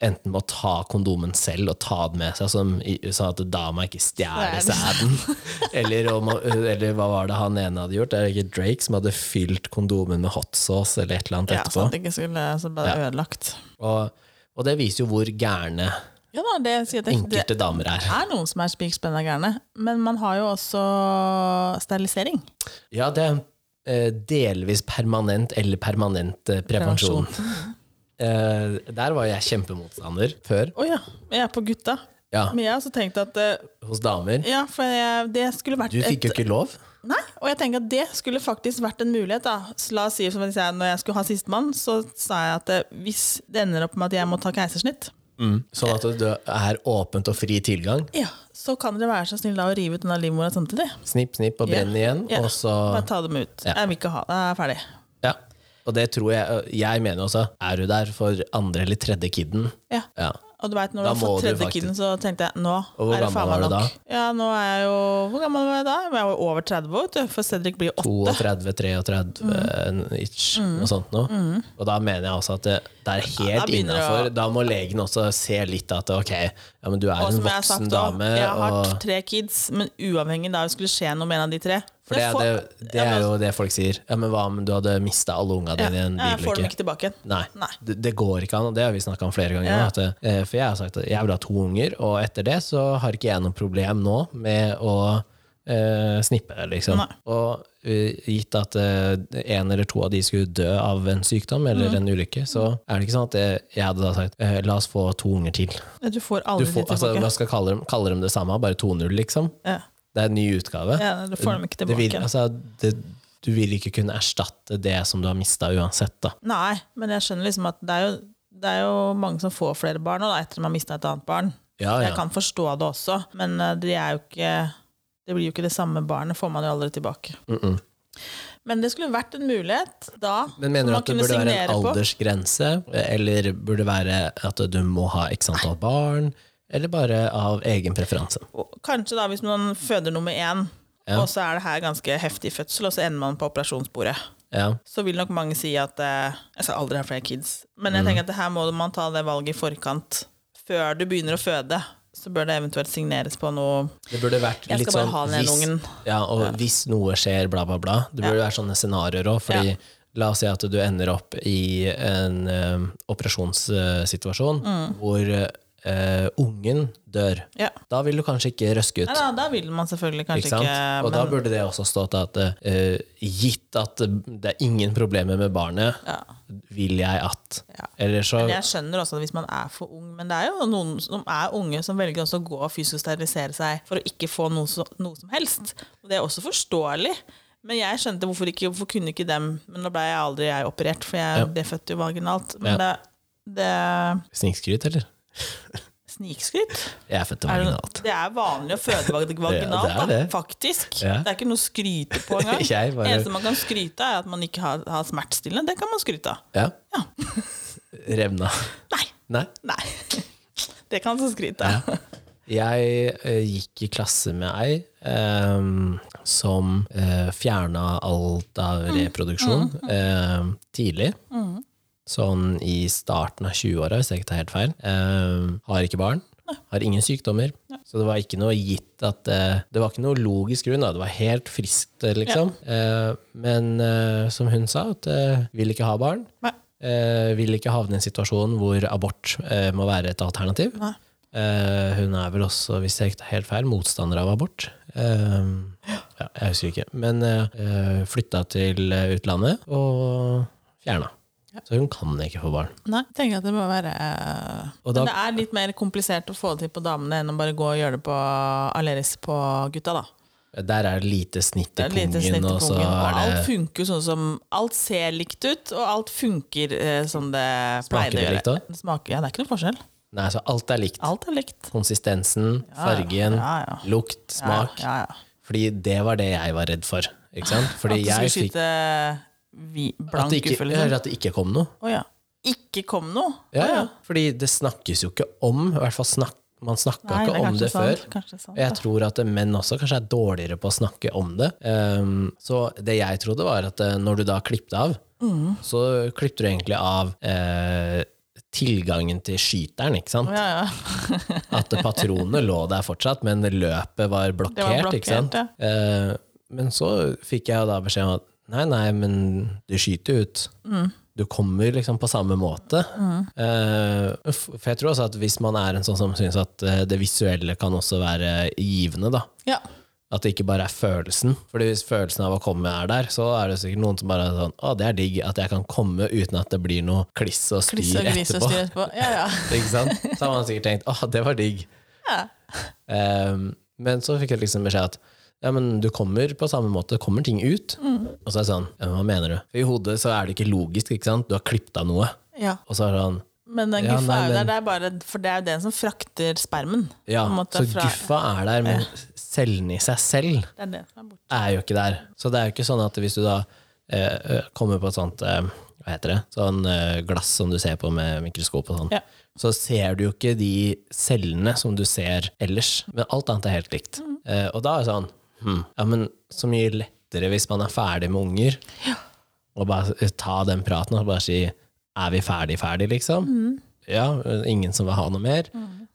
enten må ta kondomen selv og ta den med seg, som, i- sånn at dama ikke stjeler Stjeler. sæden. Eller, om, eller hva var det han ene hadde gjort? Det er ikke Drake som hadde fylt kondomen med hot sauce eller et eller annet ja, etterpå. sånn at det ikke skulle så ble det ødelagt. Og, og det viser jo hvor gærne Ja da, det sier jeg det, enkelte damer er. det er noen som er spikspenna gærne, men man har jo også sterilisering. Ja, det er eh, delvis permanent eller permanent eh, prevensjon. Eh, der var jeg kjempemotstander før, Å ja, jeg er på gutta. ja, Men jeg har også tenkt at eh, hos damer. ja, for jeg, det skulle vært Du fikk jo ikke lov. Nei, og jeg tenker at det skulle faktisk vært en mulighet. da. Så la oss si, som jeg sier, Når jeg skulle ha sistemann, så sa jeg at eh, hvis det ender opp med at jeg må ta keisersnitt, Sånn at du er åpent og fri tilgang. ja, så kan dere være så snill da å rive ut denne livmora samtidig. Snipp, snipp og brenn igjen, Ja. og så Bare ta dem ut. Ja. Jeg vil ikke ha det. Jeg er ferdig. Ja. Og det tror jeg Jeg mener også, er du der for andre eller tredje kiden? Ja. Ja. Og du vet, når Da du har må fått du tredje faktisk- kiden, så tenkte jeg nå hvor er det gammel faen meg var du nok. Ja, nå er jeg jo, Hvor gammel var jeg da? Jeg var jo over 30, vet du, for Cedric blir jo 8. 32, 33 Mm. eh, itch, noe sånt noe. Og da mener jeg også at det, det er Ja, Mm. da helt begynner det å- innafor. Da må legen også se litt at ok, ja, men du er Og en som jeg har voksen sagt, da, dame. jeg har og tre kids, men uavhengig da det skulle skje noe med en av de tre, For det Jeg er, får- det, det er jo det folk sier. Ja, men hva om du hadde mista alle unga dine i en Jeg får bilulykke? dem ikke tilbake. Nei, Nei. Det, det går ikke an, og det har vi snakka om flere ganger. Ja. At, eh, for jeg har sagt at jeg vil ha to unger, og etter det så har ikke jeg noe problem nå med å eh, snippe, liksom. Nei. Og eh, gitt at eh, en eller to av de skulle dø av en sykdom Mm. eller en ulykke, så er det ikke sånn at jeg, jeg hadde da sagt eh, la oss få to unger til. Ja, Du får Du aldri får, de altså, tilbake. hva skal kalle dem, kaller dem det samme, bare 2-0, liksom? ja. Det er en ny utgave. ja, du får dem ikke Det tilbake. vil, altså, det, du vil ikke kunne erstatte det som du har mista uansett, da. Nei, men jeg skjønner liksom at det er jo, det er jo mange som får flere barn nå, da, etter at man har mista et annet barn. Ja, Ah, ja. Jeg kan forstå det også, men eh, det er jo ikke det blir jo ikke det samme barnet, får man jo aldri tilbake. Mm -mm. Men det skulle vært en mulighet da. Men mener som du man at det kunne burde være en signere på. aldersgrense? Eller burde det være at du må ha x antall barn? Eller bare av egen preferanse? Og Kanskje da hvis man føder nummer én, Ja. og så er det her ganske heftig fødsel, og så ender man på operasjonsbordet. Ja. Så vil nok mange si at eh, jeg skal aldri ha flere kids. Men Mm. jeg tenker at det her må man ta det valget i forkant. Før du begynner å føde, så bør det eventuelt signeres på noe Det burde vært Jeg skal litt bare sånn ha den ene ungen. ja, og hvis noe skjer, bla, bla, bla. Det burde være sånne scenarioer òg, fordi Ja. La oss si at du ender opp i en eh, operasjonssituasjon hvor eh, ungen dør. Mm. Ja. Da vil du kanskje ikke røske ut. Nei, da, da vil man selvfølgelig kanskje Ikke ikke, sant? og da men- burde det også stått at eh, gitt at det er ingen problemer med barnet, Ja. vil jeg at Ja. Eller så Men jeg skjønner også at hvis man er for ung, men det er jo noen som er unge som velger også å gå og fysisk sterilisere seg for å ikke få noe, så, noe som helst. Og det er også forståelig. Men jeg skjønte hvorfor ikke, hvorfor kunne ikke dem Men da ble jeg aldri jeg operert, for jeg Ja. ble født jo vaginalt. Men det, Snikskryt, eller? det Snikskryt? Jeg er født Er det, vaginalt. det er vanlig å føde vag- det vaginalt, er da, det. faktisk. Ja. Det er ikke noe å skryte på engang. Jeg bare- Det eneste man kan skryte, er at man ikke har, har smertestillende. Det kan man skryte av. Ja. Ja. Revna. Nei. Nei. Nei. Det kan man skryte av. Jeg eh, gikk i klasse med ei eh, som uh, fjerna alt av reproduksjon eh, tidlig. Sånn i starten av 20-åra, hvis jeg ikke tar helt feil. Eh, har ikke barn. Har ingen sykdommer. Så det var ikke noe gitt at eh, Det var ikke noe logisk grunn. Da. Det var helt friskt, eh, liksom. Eh, men eh, som hun sa, at eh, vil ikke ha barn. Nei. Eh, vil ikke havne i en situasjon hvor abort eh, må være et alternativ. Nei. Eh, hun er vel også, hvis jeg ikke tar helt feil, motstander av abort. Eh, ja, jeg husker ikke. Men eh, flytta til eh, utlandet og fjerna. Så hun kan ikke få barn. Nei, jeg tenker at det må være eh, Og da- Men det er litt mer komplisert å få det til på damene enn å bare gå og gjøre det på Aleris på gutta, da. Der er det lite snitt i Det er pungen, et lite snitt i og så pungen, og er alt det funker jo sånn som Alt ser likt ut, og alt funker eh, som det Smaker pleide å det likt gjøre. også? Det smaker, ja, det er ikke noe forskjell. Nei, så alt er likt. Alt er likt. Konsistensen, fargen, Ja, ja. lukt, Ja, smak. ja, ja. Fordi det var det jeg var redd for. Ikke sant? Fordi At du jeg skulle fikk skyte eh, vi, at blank det, ikke, uffe, eller liksom. at det ikke kom noe. Å ja. Ikke kom noe? Ja, Å ja. Fordi det snakkes jo ikke om. I hvert fall snak, Man snakka Nei, ikke er om kanskje det før. sant, Kanskje sant. Og jeg tror at menn også kanskje er dårligere på å snakke om det. Ehm, så det jeg trodde var at eh, når du da klippte av, Mm. så klippte du egentlig av eh, tilgangen til skyteren, ikke sant? Ja, ja. At patronene lå der fortsatt, men løpet var blokkert. blokkert, ikke sant? ja. Eh, men så fikk jeg da beskjed om at nei, nei, men du skyter jo ut. Mm. Du kommer liksom på samme måte. Eh, f- for jeg tror også at hvis man er en sånn som syns at eh, det visuelle kan også være givende, da. ja. At det ikke bare er følelsen. Fordi hvis følelsen av å komme er der, så er det sikkert noen som bare er sånn Å, det er digg at jeg kan komme uten at det blir noe kliss og styr Kliss og gris og etterpå. styr etterpå. Ja, ja. ikke sant? Så har man sikkert tenkt åh, det var digg. ja. Ehm, men så fikk jeg liksom beskjed at ja, men du kommer på samme måte, det kommer ting ut. Mm. Og så er det sånn, ja, men hva mener du? For I hodet så er det ikke logisk, ikke sant? Du har klippet av noe. Ja. Og så er det sånn, Men den Ja, guffa nei, er jo der, men- det er bare, for det er jo den som frakter spermen. ja, på en måte, så fra- guffa er der, men cellen i seg selv Det er det som er borte. er jo ikke der. Så det er jo ikke sånn at hvis du da eh, eh, kommer på et sånt eh, hva heter det? Sånn eh, glass som du ser på med mikroskop og sånn, Ja. så ser du jo ikke de cellene som du ser ellers. Men alt annet er helt likt. Eh, og da er det sånn hm, Ja, men så mye lettere hvis man er ferdig med unger, og bare ta den praten og bare si Mm. Er vi ferdig, ferdig, liksom? Ja, ingen som vil ha noe mer.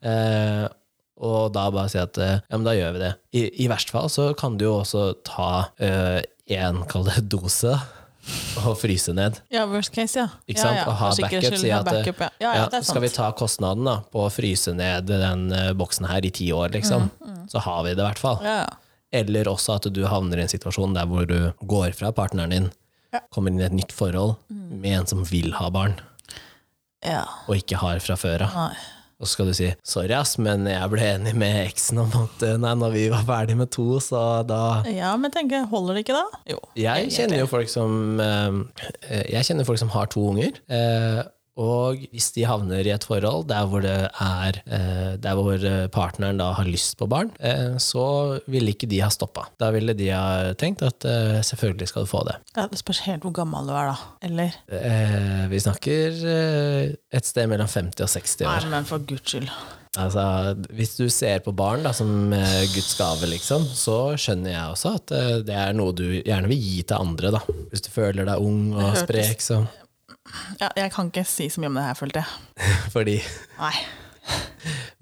Eh, Og da bare si at eh, ja, men da gjør vi det. I, i verste fall så kan du jo også ta én, kall det, dose, og fryse ned. Ja, worst case, ja. Ikke ja, sant? ja. Og ha For sikkerhets backup. skyld, Si ha at eh, backup, ja. Ja, ja, det er sant. skal vi ta kostnaden da, på å fryse ned den eh, boksen her i ti år, liksom, Mm, så har vi det i hvert fall. ja, ja. Eller også at du havner i en situasjon der hvor du går fra partneren din, Ja. kommer inn i et nytt forhold med en som vil ha barn, ja. og ikke har fra før av. Nei. Og så skal du si 'sorry, ass, men jeg ble enig med eksen om at eh, nei, når vi var ferdig med to, så da ja, men jeg tenker, holder det ikke da? Jo. Jeg kjenner jo folk som eh, Jeg kjenner folk som har to unger. eh, og hvis de havner i et forhold der hvor, det er, eh, der hvor eh, partneren da har lyst på barn, eh, så ville ikke de ha stoppa. Da ville de ha tenkt at eh, selvfølgelig skal du få det. Ja, det spørs helt hvor gammel du er, da. Eller? Eh, vi snakker eh, et sted mellom 50 og 60 Nei, år. men for guds skyld. Altså, hvis du ser på barn da, som eh, Guds gave, liksom, så skjønner jeg også at eh, det er noe du gjerne vil gi til andre. Da. Hvis du føler deg ung og Det hørtes- sprek, så Ja, jeg kan ikke si så mye om det her, følte jeg. fordi Nei.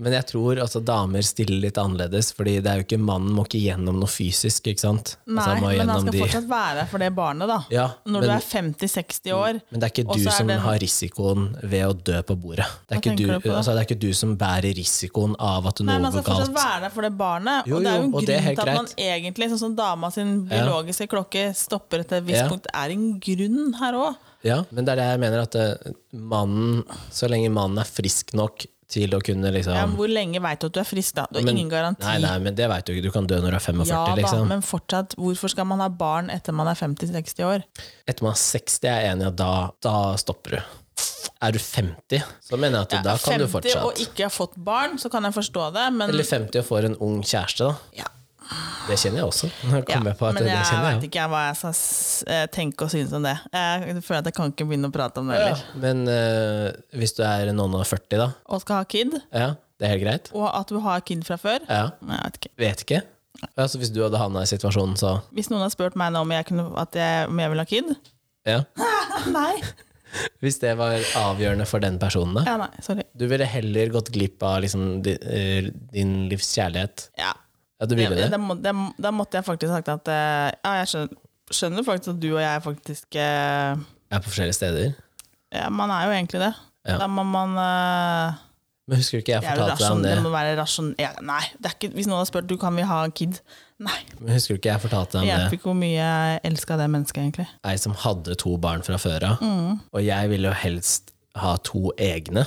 Men jeg tror altså damer stiller litt annerledes, fordi det er jo ikke mannen må ikke gjennom noe fysisk, ikke sant? Nei, altså, men han skal de- fortsatt være der for det barnet, da. ja, Når men, du er 50-60 år. men det er ikke og du så er som den- har risikoen ved å dø på bordet. Det er, Hva ikke du, tenker du på da? altså, det er ikke du som bærer risikoen av at Nei, noe men han går skal fortsatt galt. være der for det barnet. Jo, og det jo, er jo en og det er grunn helt til at man greit. egentlig, sånn som dama sin Ja. biologiske klokke stopper etter et visst Ja. punkt, det er en grunn her òg. Ja, men det er det jeg mener, at eh, mannen, så lenge mannen er frisk nok til å kunne liksom Ja, men hvor lenge veit du at du er frisk, da? Du har Men- ingen garanti. Nei, nei, men det veit du ikke. Du kan dø når du er 45, ja da, liksom. men fortsatt, hvorfor skal man ha barn etter man er 50-60 år? Etter man er 60, er jeg enig i at da, da stopper du. Er du 50, så mener jeg at da kan du 50 og fortsatt. ikke har fått barn, så kan jeg forstå det, men Eller 50 og får en ung kjæreste, da. ja, Det kjenner jeg også. Nå ja, kom jeg på at Men det jeg kjenner veit jeg. ikke jeg, hva jeg skal s- eh, tenke og synes om det. Jeg føler at jeg kan ikke begynne å prate om det Ja. heller. Men eh, hvis du er noen og 40, da. Og skal ha kid, Ja, det er helt greit. og at du har kid fra før Ja, Nei, jeg vet ikke. Vet ikke. Altså, hvis du hadde havna i situasjonen, så Hvis noen har spurt meg nå om jeg, kunne, at jeg, om jeg vil ha kid ja. Nei. Hvis det var avgjørende for den personen, da. Ja, nei, sorry. Du ville heller gått glipp av liksom, di, eh, din livs kjærlighet. Ja. Ja, du ville Ja, det? Da, må, da, da måtte jeg faktisk sagt at eh, ja, jeg skjønner, skjønner faktisk at du og jeg faktisk eh, Jeg er på forskjellige steder. Ja, man er jo egentlig det. Ja. Da må man eh, Men husker du ikke jeg det, er jo fortalte deg rasjon, om det det? må være rasjon... Ja, nei, det er ikke, hvis noen har spurt du kan vi ha en kid Nei. Men husker du ikke jeg fortalte Det deg om hjelper det? ikke hvor mye jeg elska det mennesket, egentlig. Ei som hadde to barn fra før av. Mm. Og jeg ville jo helst ha to egne,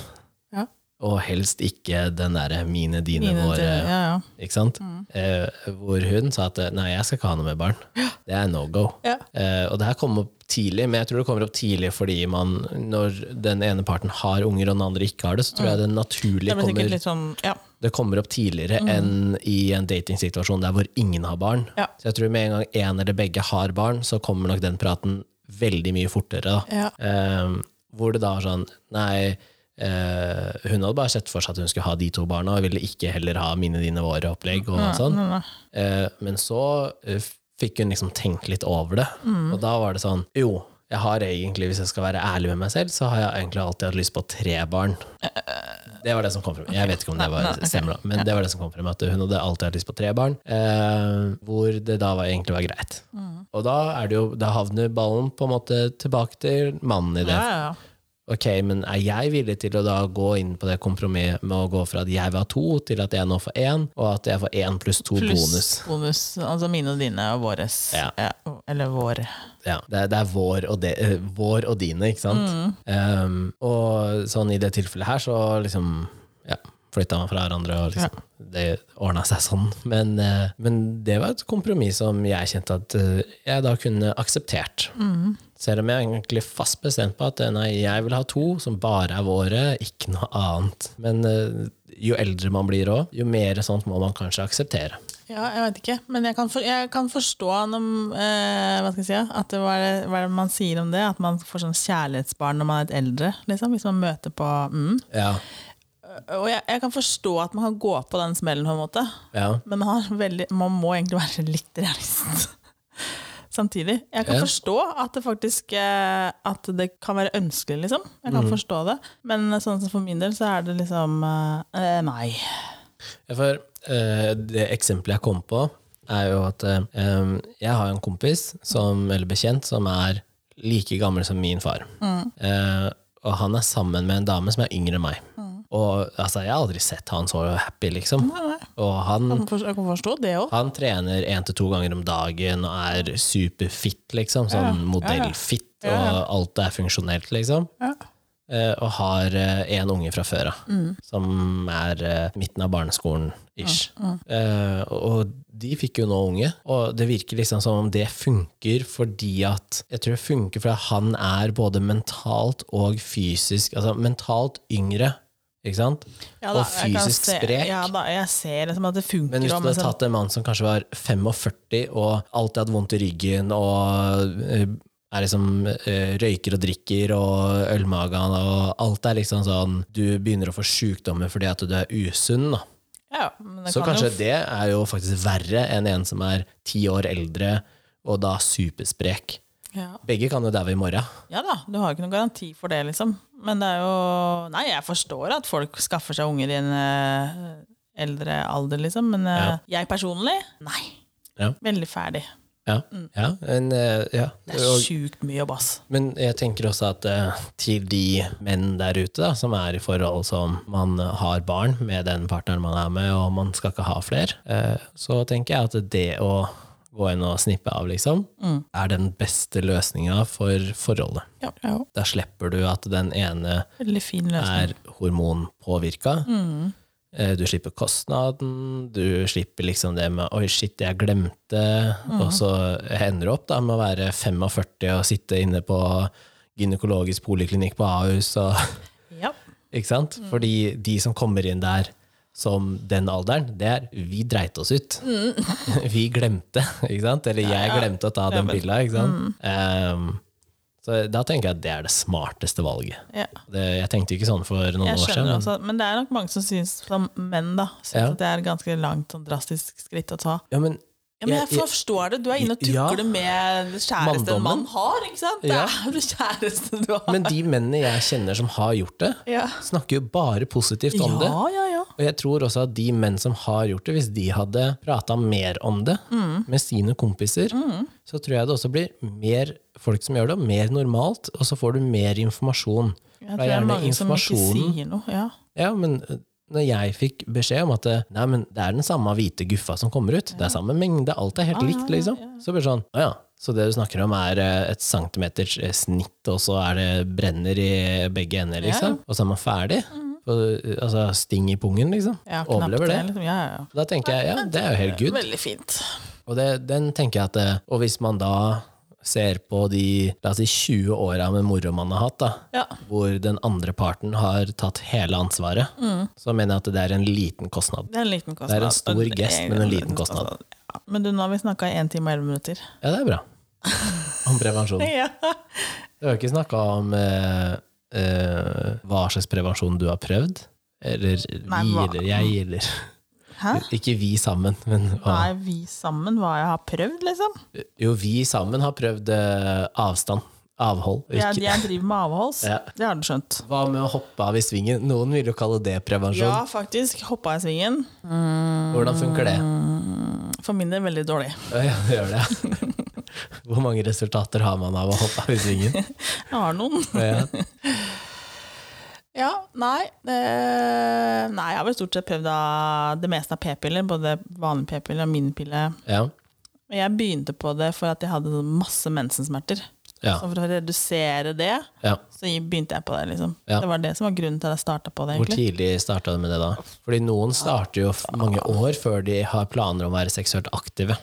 Ja. og helst ikke den derre mine, dine, Mine våre. til- ja, Mm. ja. Ikke sant? Eh, hvor hun sa at nei, jeg skal ikke ha noe med barn. Det er no go. Ja. Eh, og det her kom opp tidlig, men jeg tror det kommer opp tidlig fordi man, når den ene parten har unger og den andre ikke har det, så tror jeg det naturlig Mm. Det blir kommer sikkert litt Mm. sånn Ja. det kommer opp tidligere enn i en datingsituasjon der hvor ingen har barn. Ja. Så jeg tror med en gang en eller begge har barn, så kommer nok den praten veldig mye fortere. Da. ja. Ehm, hvor det da er sånn Nei, eh, hun hadde bare sett for seg at hun skulle ha de to barna, og ville ikke heller ha mine, dine, våre opplegg. Og sånn. Nei, nei. Eh, men så eh, fikk hun liksom tenke litt over det. Mm. Og da var det sånn Jo, jeg har egentlig, hvis jeg skal være ærlig med meg selv, så har jeg egentlig alltid hatt lyst på tre barn. Det var det som kom frem. Jeg vet ikke om det var, stemmer, da, men det var det som kom frem. At hun hadde alltid hatt lyst på tre barn, eh, hvor det da var, egentlig var greit. Mm. Og da, er det jo, da havner ballen på en måte tilbake til mannen i det. Ja, ja, Ok, men er jeg villig til å da gå inn på det kompromisset med å gå fra at jeg vil ha to, til at jeg nå får én, og at jeg får én pluss to Pluss bonus? bonus. Altså mine og dine og våres. Ja. eller våre. Ja, det, er- det er vår og, de, eh, vår og dine, ikke sant? Um, og sånn i det tilfellet her, så liksom ja, flytta man fra hverandre, og liksom, det ordna seg sånn. Men, eh, men det var et kompromiss som jeg kjente at eh, jeg da kunne akseptert. Selv om jeg er egentlig fast bestemt på at eh, nei, jeg vil ha to som bare er våre, ikke noe annet. Men eh, jo eldre man blir òg, jo mer sånt må man kanskje akseptere. Ja, jeg vet ikke. Men jeg kan, for, jeg kan forstå når, eh, hva skal jeg si, ja, at det, hva, er det, hva er det man sier om det? At man får sånn kjærlighetsbarn når man er et eldre, liksom, hvis man møter på mm. Ja, Og jeg, jeg kan forstå at man kan gå på den smellen, på en måte. ja. Men man, har veldig, man må egentlig være litt realist. Samtidig. Jeg kan Ja. forstå at det faktisk eh, At det kan være Mm. ønskelig, liksom. Jeg kan forstå det. Men eh, sånn som for min del så er det liksom eh, eh, Nei. Ja, For eh, det eksempelet jeg kom på, er jo at eh, em, jeg har en kompis, som, eller bekjent, som er like gammel som min far. Eh, og han er sammen med en dame som er yngre enn meg. Og altså, jeg har aldri sett han så happy, liksom. Og han, Jeg kan forstå- jeg kan forstå det òg. han trener én til to ganger om dagen og er superfit, liksom. Sånn modellfit, og alt er funksjonelt, liksom. Eh, og har én unge fra før av, Mm. som er eh, midten av barneskolen-ish. Eh, og de fikk jo nå unge, og det virker liksom som om det funker fordi at Jeg tror det funker fordi han er både mentalt og fysisk Altså mentalt yngre, ikke sant? Ja, da, og jeg kan fysisk se- sprek. Ja, da, jeg ser liksom at det Men funker. hvis da, du Men hadde tatt en mann som kanskje var 45 og alltid hadde vondt i ryggen og eh, er liksom eh, røyker og drikker og ølmagen og alt er liksom sånn Du begynner å få sykdommer fordi at du er usunn, da. ja, men det Så kan kanskje jo, det er jo faktisk verre enn en som er ti år eldre og da supersprek. ja. Begge kan jo daue i morgen. ja da, du har jo ikke noen garanti for det, liksom. Men det er jo Nei, jeg forstår at folk skaffer seg unger i en eh, eldre alder, liksom. Men eh, jeg personlig, nei. Ja. Veldig ferdig. Ja. ja, men, eh, ja. Mm. Det er Og- sjukt mye jobb, ass. Men jeg tenker også at eh, til de menn der ute da, som er i forhold som man har barn med den partneren man er med, og man skal ikke ha flere, eh, så tenker jeg at det å gå inn og snippe av, liksom, er den beste løsninga for forholdet. Ja, ja. Da slipper du at den ene Veldig fin løsning. er hormonpåvirka. Eh, Du slipper kostnaden, du slipper liksom det med 'oi, shit, jeg glemte', og så ender du opp da med å være 45 og sitte inne på gynekologisk poliklinikk på Ahus. Og, Ja. ikke sant? Fordi de som kommer inn der som den alderen, det er 'vi dreit oss ut'. vi glemte, ikke sant? Eller 'jeg glemte å ta den men- pilla', ikke sant? Ehm, så da tenker jeg at det er det smarteste valget. ja. Det, jeg tenkte ikke sånn for noen Jeg år siden. skjønner altså. Men, også, men det er nok mange som syns, som menn, da, syns Ja. at det er et ganske langt sånn drastisk skritt å ta. ja, men, Ja, men jeg jeg- forstår det. Du er inne og Ja. tukler med kjæresten en mann Manndommen. har, ikke sant? Det Ja. er jo kjæresten du har. men de mennene jeg kjenner som har gjort det, ja. snakker jo bare positivt om det. ja, ja, ja. Og jeg tror også at de menn som har gjort det, hvis de hadde prata mer om det Mm. med sine kompiser, så tror jeg det også blir mer folk som gjør det, og mer normalt, og så får du mer informasjon. Det Jeg tror er det er gjerne mange som ikke informasjonen. sier noe. Ja. Ja, men eh, når jeg fikk beskjed om at eh, nei, men det er den samme hvite guffa som kommer ut, det er samme mengde, alt er helt likt, liksom. Så blir det sånn, å ja. Så det du snakker om er eh, et centimeters eh, snitt, og så er det brenner i begge ender, liksom. Og så er man ferdig. Og, eh, altså sting i pungen, liksom. Ja, knapt Overlever det. liksom. Ja, ja, Da tenker jeg ja, det er jo helt ja. good. Veldig fint. Og det, den tenker jeg at eh, Og hvis man da ser på de la oss si 20 åra med moro man har hatt, da, Ja. hvor den andre parten har tatt hele ansvaret, Mm. så mener jeg at det er en liten kostnad. Det er en liten kostnad. Det er en stor Og det gest, er men en liten kostnad. Ja. Men du, nå har vi snakka i 1 time og 11 minutter. Ja, det er bra. Om prevensjon. Ja. Du har ikke snakka om eh, eh, hva slags prevensjon du har prøvd? Eller Nei, vi hva- Mm. eller jeg eller Hæ? Ikke vi sammen, men hva? Nei, vi sammen, hva jeg har prøvd, liksom. Jo, vi sammen har prøvd eh, avstand. Avhold. Jeg, jeg driver med avholds. Ja. Det har du skjønt. Hva med å hoppe av i svingen? Noen vil jo kalle det prevensjon. Ja, faktisk. Hoppa i svingen. Hvordan funker det? For min del veldig dårlig. Ja, ja, det gjør det. Hvor mange resultater har man av å hoppe av i svingen? Jeg har noen. Ja. Ja, nei eh, Nei, jeg har vel stort sett prøvd av det meste av p-piller. Både vanlig p-pille og minipille. Ja. Men jeg begynte på det for at jeg hadde sånn masse mensensmerter. Ja. Så for å redusere det, ja. så begynte jeg på det. liksom. Ja. Det var det som var grunnen til at jeg starta på det. Hvor egentlig. tidlig starta du med det da? Fordi noen starter jo f- mange år før de har planer om å være seksuelt aktive.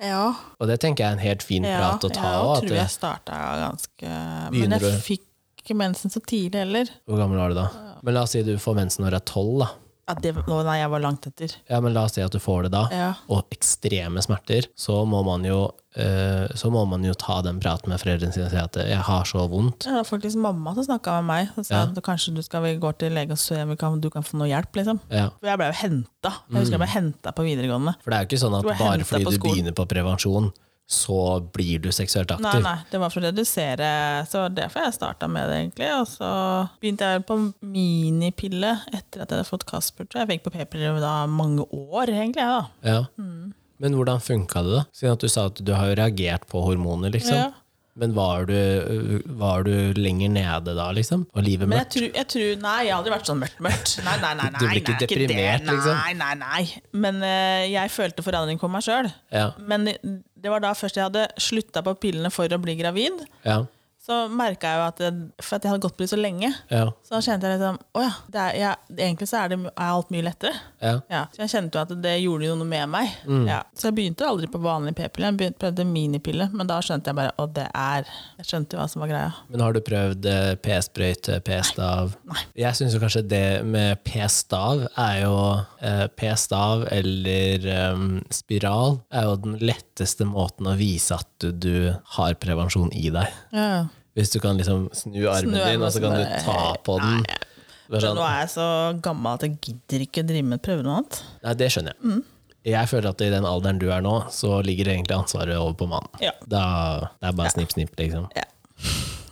Ja, Og det tenker jeg er en helt fin ja, prat å ta jeg òg. tror jeg starta ganske Men Begynner jeg du- fikk ikke mensen så tidlig heller. Hvor gammel var du da? Men la oss si du får mensen når du er tolv, da. Ja, det, å, nei, jeg var langt etter. Ja, men la oss si at du får det da, Ja. og ekstreme smerter, så må man jo, eh, så må man jo ta den praten med foreldrene sine og si at eh, 'jeg har så vondt'. Det var faktisk mamma som snakka med meg. Som sa Ja. at kanskje du skal vi går til lege og se om vi kan, du kan få noe hjelp. liksom. Ja. For Mm. jeg ble jo henta. Jeg husker jeg ble henta på videregående. For det er jo ikke sånn at Du er bare hentet fordi på du skolen. begynner på prevensjon, så blir du seksuelt aktiv. Nei, nei, det var for å redusere, så det var derfor jeg starta med det, egentlig. Og så begynte jeg på minipille etter at jeg hadde fått Kasper. tror Jeg Jeg fikk på p-piller da mange år, egentlig. jeg, da. Ja. Mm. Men hvordan funka det, da? Siden at du sa at du har jo reagert på hormoner, liksom. Ja. Men var du, øh, var du lenger nede da, liksom? Og livet Men jeg mørkt? tror, jeg tror Nei, jeg har aldri vært sånn mørkt, mørkt. Nei, nei, nei, nei, Du blir ikke nei, det. deprimert, liksom? Nei, nei, nei. Men eh, jeg følte forandring på meg sjøl. Ja. Men det- det var da først jeg hadde slutta på pillene for å bli gravid. Ja. Så merka jeg jo at det, For at jeg hadde gått på det så lenge. Ja. Så da kjente jeg liksom Å ja. Det er, jeg, egentlig så er, det, er alt mye lettere. ja. Ja. Så jeg kjente jo at det gjorde jo noe med meg. Mm. Ja. Så jeg begynte aldri på vanlig p-pille. Jeg begynte- prøvde minipille, men da skjønte jeg bare Å, det er Jeg skjønte jo hva som var greia. Men har du prøvd eh, p-sprøyte, p-stav? Nei. Jeg syns jo kanskje det med p-stav er jo eh, P-stav eller eh, spiral er jo den letteste måten å vise at du, du har prevensjon i deg. Ja. Hvis du kan liksom snu armen Snu din, armen sånn, og så og kan så du bare, ta på den. Bare Men sånn, nå er jeg så gammel at jeg gidder ikke å drive med prøve noe annet. Nei, det skjønner jeg. Mm. Jeg føler at i den alderen du er nå, så ligger egentlig ansvaret over på mannen. Ja. Da, det er bare snipp, snipp, liksom. Ja.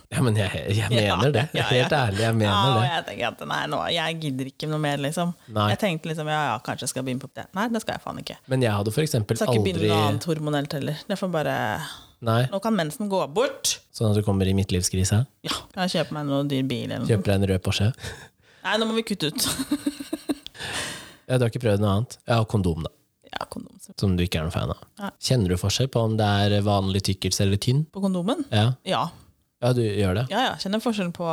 Ja, men jeg, jeg mener det. Ja, ja, ja. Helt ærlig, jeg Ja, mener og det. jeg tenker at nei, nå, jeg gidder ikke noe mer, liksom. Nei. Jeg tenkte liksom ja, ja, kanskje jeg skal begynne på det. Nei, det skal jeg faen ikke. Men jeg hadde for eksempel Jeg skal ikke aldri begynne noe annet hormonelt heller. Det får bare Nei, Nå kan mensen gå bort. sånn at du kommer i midtlivskrise. Ja, kan jeg kjøpe meg noen dyr bil eller noe? Kjøper deg en rød Porsche. Nei, nå må vi kutte ut. Ja, du har ikke prøvd noe annet? Ja, og kondom, da. ja, kondom. så- Som du ikke er noen fan av. Nei. Kjenner du forskjell på om det er vanlig tykkelse eller tynn? På kondomen? Ja, Ja. ja du gjør det. ja, ja. Kjenner forskjell på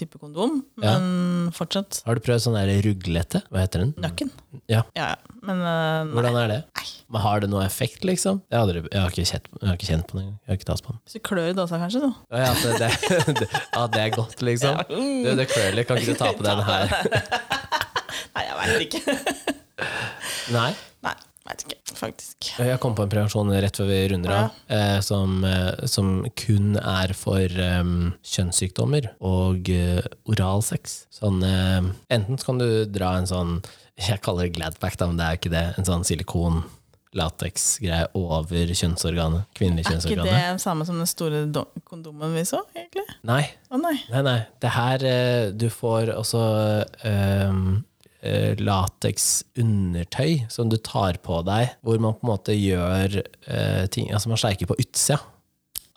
type kondom, Ja. men fortsatt Har du prøvd sånn der ruglete? Hva heter den? nøkken. Ja. Ja, ja. Men eh, nei. Hvordan er det? Men har det noe effekt, liksom? Jeg, hadde, jeg, har, ikke kjent, jeg har ikke kjent på den engang. Jeg har ikke tatt på den. Hvis du klør i dåsa, kanskje, så. Å, Ja, at det, det, at det er godt, liksom? Du, det curler, kan ikke du ta på den her? Nei, jeg veit ikke. Nei. Nei, veit ikke, faktisk. Eh, Jeg kom på en prevensjon rett før vi runder av, eh, som, eh, som kun er for em, kjønnssykdommer og eh, oralsex. Sånn, eh, enten så kan du dra en sånn, jeg kaller det gladpack, da, men det er ikke det, en sånn silikon latex-greie over kjønnsorganet, kvinnelig Er ikke kjønnsorganet. det samme som den store do- kondomen vi så, egentlig? Nei, Å nei. Nei, nei. Det her eh, Du får også um, lateks-undertøy som du tar på deg, hvor man på en måte gjør eh, ting Altså man sleiker på utsida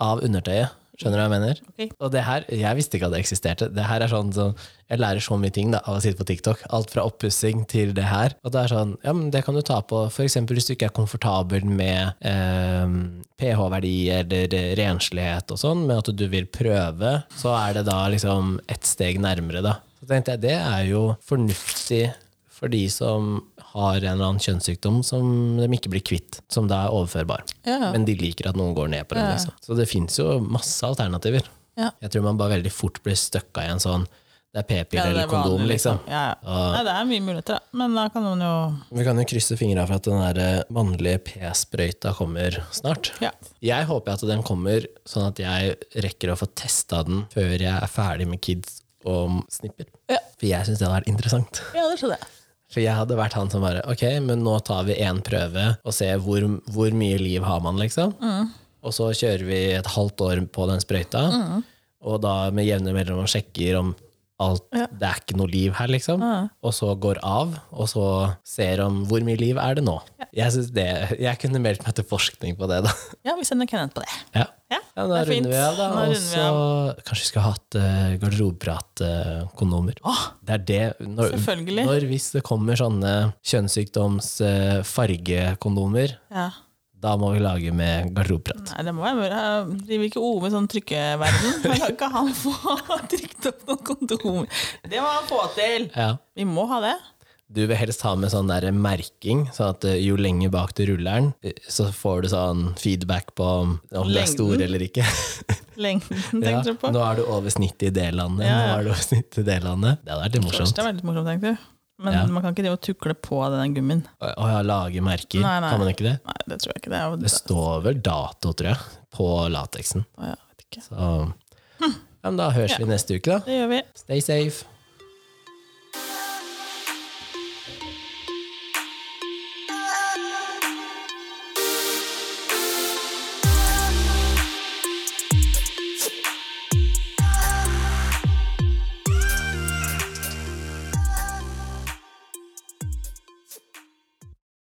av undertøyet. Skjønner du hva jeg mener? Ok. Og det her, Jeg visste ikke at det eksisterte. Det her er sånn, sånn Jeg lærer så mye ting da, av å sitte på TikTok. Alt fra oppussing til det her. Og det er sånn, ja, men det kan du ta på f.eks. hvis du ikke er komfortabel med eh, pH-verdi eller renslighet og sånn, men at du vil prøve, så er det da liksom ett steg nærmere, da. Så tenkte jeg det er jo fornuftig for de som har en eller annen kjønnssykdom som de ikke blir kvitt, som da er overførbar. Ja. Men de liker at noen går ned på den. Liksom. Så det fins jo masse alternativer. Ja. Jeg tror man bare veldig fort blir støkka i en sånn det er p-piller det eller er kondom, vanlig, liksom. Ja, ja. Nei, det er mye muligheter, da. Men da kan man jo Vi kan jo krysse fingra for at den der eh, mannlige p-sprøyta kommer snart. Ja. Jeg håper at den kommer sånn at jeg rekker å få testa den før jeg er ferdig med kids og snipper. Ja. For jeg syns det hadde vært interessant. ja, det skjønner jeg. For jeg hadde vært han som bare Ok, men nå tar vi én prøve og ser hvor, hvor mye liv har man, liksom. Og så kjører vi et halvt år på den sprøyta, og da med jevne mellomrom sjekker om alt Det er ikke noe liv her, liksom. Og så går av, og så ser om hvor mye liv er det nå. Jeg, synes det, jeg kunne meldt meg til forskning på det, da. Ja, vi sender Kenneth på det. Ja. Ja, Ja, det da er fint. runder vi av, da. Nå Og runder vi så kanskje vi skulle hatt eh, uh, garderobeprat-kondomer. det er det. Når, Selvfølgelig. Når hvis det kommer sånne kjønnssykdoms-fargekondomer, Ja. da må vi lage med garderobeprat. Nei, det må jeg bare Jeg Driver ikke Ove sånn trykkeverden? Men Kan ikke han få trykt opp noen kondomer? Det må han få til! Ja. Vi må ha det. Du vil helst ha med sånn der merking, sånn at eh, jo lenger bak du ruller den, eh, så får du sånn feedback på om, om det er Lengden. stor eller ikke. Lengden, Ja. tenkte du på? Nå er du over snittet i det landet. Ja, ja. Nå er du over snittet i det landet. Det hadde vært litt morsomt. Det er veldig morsomt, tenkte du. Men Ja. man kan ikke drive og tukle på den gummien. Å å ja, lage merker, Nei, nei. kan man ikke det? Nei, det tror jeg ikke. Det er jo Det står vel dato, tror jeg, på lateksen. Å, jeg vet ikke. Så ja, men da høres vi neste uke, da. Det gjør vi. Stay safe.